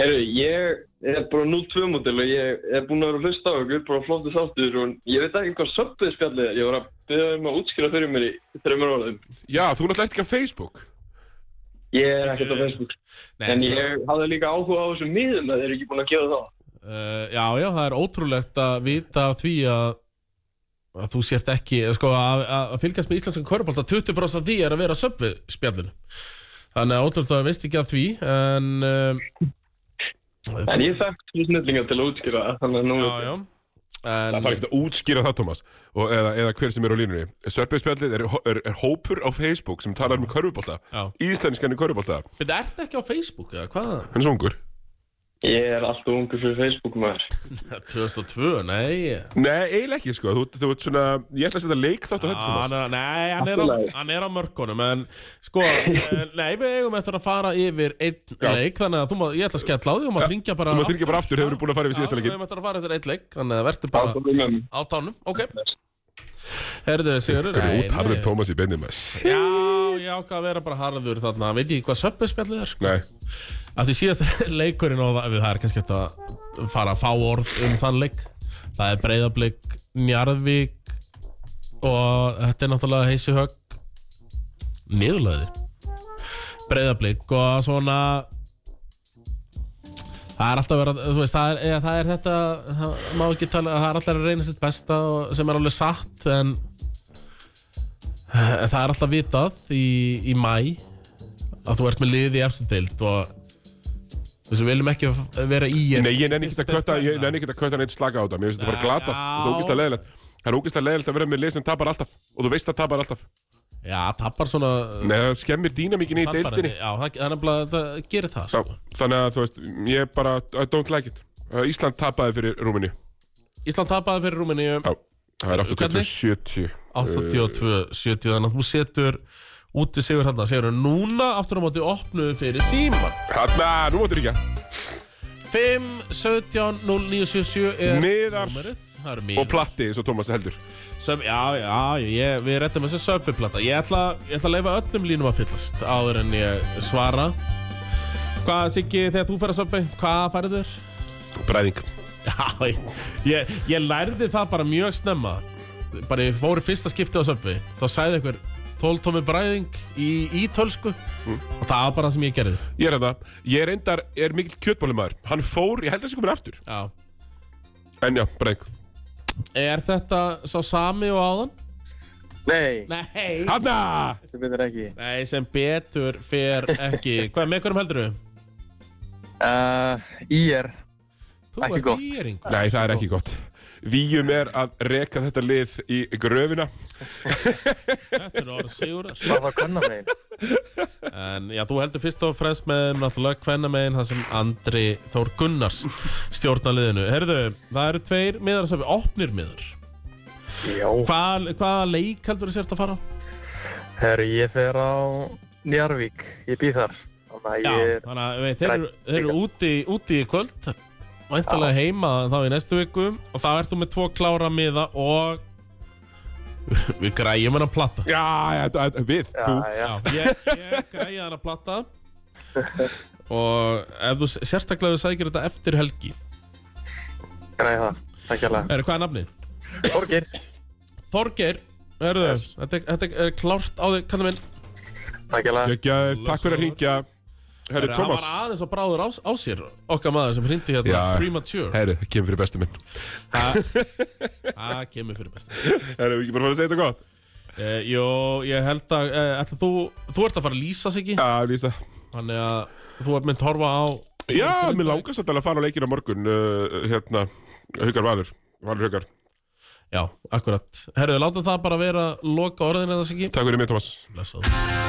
Herru, ég er bara 0-2 mótil og ég er búinn að vera að hlusta á ykkur, bara flottu þáttur og ég veit ekki hvað söpbuð spjallið er. Ég var að byrja um að útskýra fyrir mér í þreymur orðum.
já, þú náttúrulega ert ekki á Facebook
Ég er ekkert á Facebook.
Nei,
En
sko,
ég hafði líka áhuga á þessum miðum að þeir eru ekki búin að gefa það.
uh, Já, já, það er ótrúlegt að vita af því að að þú sért ekki, sko, að, að að fylgjast með íslenskan körbólta 20% af því er að vera söpvið spjallinu þannig að ótrúlega veist ekki af því en um,
En ég þekkt því snillinga til að útskýra það, þannig að nú...
Já, já
Það þarf
En,
ekkert að útskýra það, Tómas og, eða, eða hver sem er á línunni Söpbjörnspjallið er, er, er hópur á Facebook sem talar um körfubólta
Já.
Íslenskan er körfubólta
betur, ertu ekki á Facebook eða hvað?
Hann er svo ungur
Ég er alltaf ungu fyrir Facebook maður.
2002, nei
Nei, eiginlega ekki sko Þú, þú ert svona Ég ætla að setja leikþátt á þetta,
Hann
Tómas
er, nei, hann er, á,
Allt í lagi.
hann er á mörkunum En
[LAUGHS]
sko, eh, nei, við eigum eftir að fara yfir einn
Já.
leik Þannig að þú má, ég ætla að skella á því og maður hringja bara
Þú maður þyrkja bara aftur Hefur þú búin að fara yfir síðasta
Já, við
leikin
eigum eftir að fara eftir einn leik Þannig að verður
Það
bara
er með mér.
á tánum, ok Herðu, Sigurður nei,
Grjót, harður
nei.
Tómas í beinni maður
Já, ég ákvað að vera bara harður þarna Veit ég hvað söpbespjallið er sko
Nei,
Af því síðast [LAUGHS] leikurinn og það, það er kannski hægt að fara að fá orð um þann leik Það er Breiðablík, Njarðvík og þetta er náttúrulega heisi högg niðurlöði Breiðablík og svona Það er alltaf verið, að- þú veist, það er, eða, það er þetta, það má ekki tala, það er alltaf að reyna sitt besta og, sem er alveg satt en eh, það er alltaf vitað í, í mæ að þú ert með liði í efstendeild og þess að við viljum ekki vera í hérna.
Nei, ég nenni ekki að kötta Ég nenni ekki að kötta neitt slaka á þetta Mér finnst þetta bara
Já.
glatað Þú veist, ógist að leðilegt Það er ógeðslega leiðilegt að vera með lið sem tapar alltaf og þú veist að tapar alltaf
Já, tapar svona
Nei, það skemmir dýnamíkinni í deildinni
Já, það, það er nefnilega, það gerir það
Já,
sko.
þannig að þú veist, ég bara, I don't like it Uh, Ísland tapaði fyrir Rúmini
Ísland tapaði fyrir Rúmeníu
Já, það er 80-70
82-70 Þannig að þú setur úti sigur hérna Sigur núna aftur á móti opnuðu fyrir tíma
Hanna, nú máttu ríkja
5-17-09-77 er
Miðar.
númerið. Það eru
Og
miðar
platti, eins og Thomas heldur
Söp, já, já, ég, við rettum þessu söpfiplata ég, ætla- ég ætla að leifa öllum línum að fyllast áður en ég svara Hvað, Siggi, þegar þú fer að söppi, hvað færið þér?
Bræðing
Já, ég- ég, ég lærði það bara mjög snemma Bara ég fór í fyrsta skipti á söpfi Þá sagði einhver 12 tómi bræðing í ítölsku Og það var bara það sem ég gerði
Ég er það, ég reyndar, er mikill kjötbólumæður Hann fór, ég held að þessi komin aftur
Já.
En já, bræðing
Er þetta sá sami og áðan?
Nei,
Nei
Hanna,
þetta betur ekki.
Nei, sem betur fer [LAUGHS] ekki Hvað, með hverjum heldur þau?
Uh, Ír,
Þú
Ekki
ert
gott.
íring
nei það er ekki gott Víum er að reka þetta lið í gröfina
Þetta eru orð sigurar
hvað var kannan megin?
En já, þú heldur fyrst og fremst með náttúrulega kvennamegin það sem Andri Þór Gunnars stjórna liðinu. Herðu, það eru tveir miðar sem við opnir miðar.
Já.
Hvaða hvaða leik heldur þú sért að fara á?
Herru, ég fer á Njarvík, ég býð þar. Þannig að
Já,
ég er,
þannig að við- þeir eru, þeir eru úti, úti í kvöld, væntalega heima þá í næstu viku og þá ert þú með tvo klára miða og [LAUGHS] við græjum hennar platta.
Já, já, já, við,
já,
þú
já,
Já, ég, ég græja hennar platta
[LAUGHS]
og ef þú sérstaklega ef þú sækir þetta eftir helgi,
græði það. Takk hérlega.
er, hvað er nafnið?
Þorgir,
Þorgeir, verðu,
Yes.
þetta, þetta er klárt á þig, kallar minn
takk hérlega.
Gekkjaður, takk fyrir að hringja Herru,
Hann var
Thomas
aðeins og bráður á, á sér okkar maður sem hrindi hérna,
Já.
premature
Herru, það kemur fyrir bestu minn
Það kemur fyrir besta
Herru, ekki bara fara að segja þetta gott
uh, Jó, ég held að uh, ætla, þú, þú ert að fara að lýsa sig ekki
Já, lísta
Þannig að þú ert mynd að horfa á
Já, mér langast alltaf að fara á leikina morgun uh, Hérna, Haugar Valur Valur Haugar
Já, akkurat Herðu, látum það bara vera hérna, loka orðin eða sig ekki
Takk fyrir mig, Thomas
Blessaðu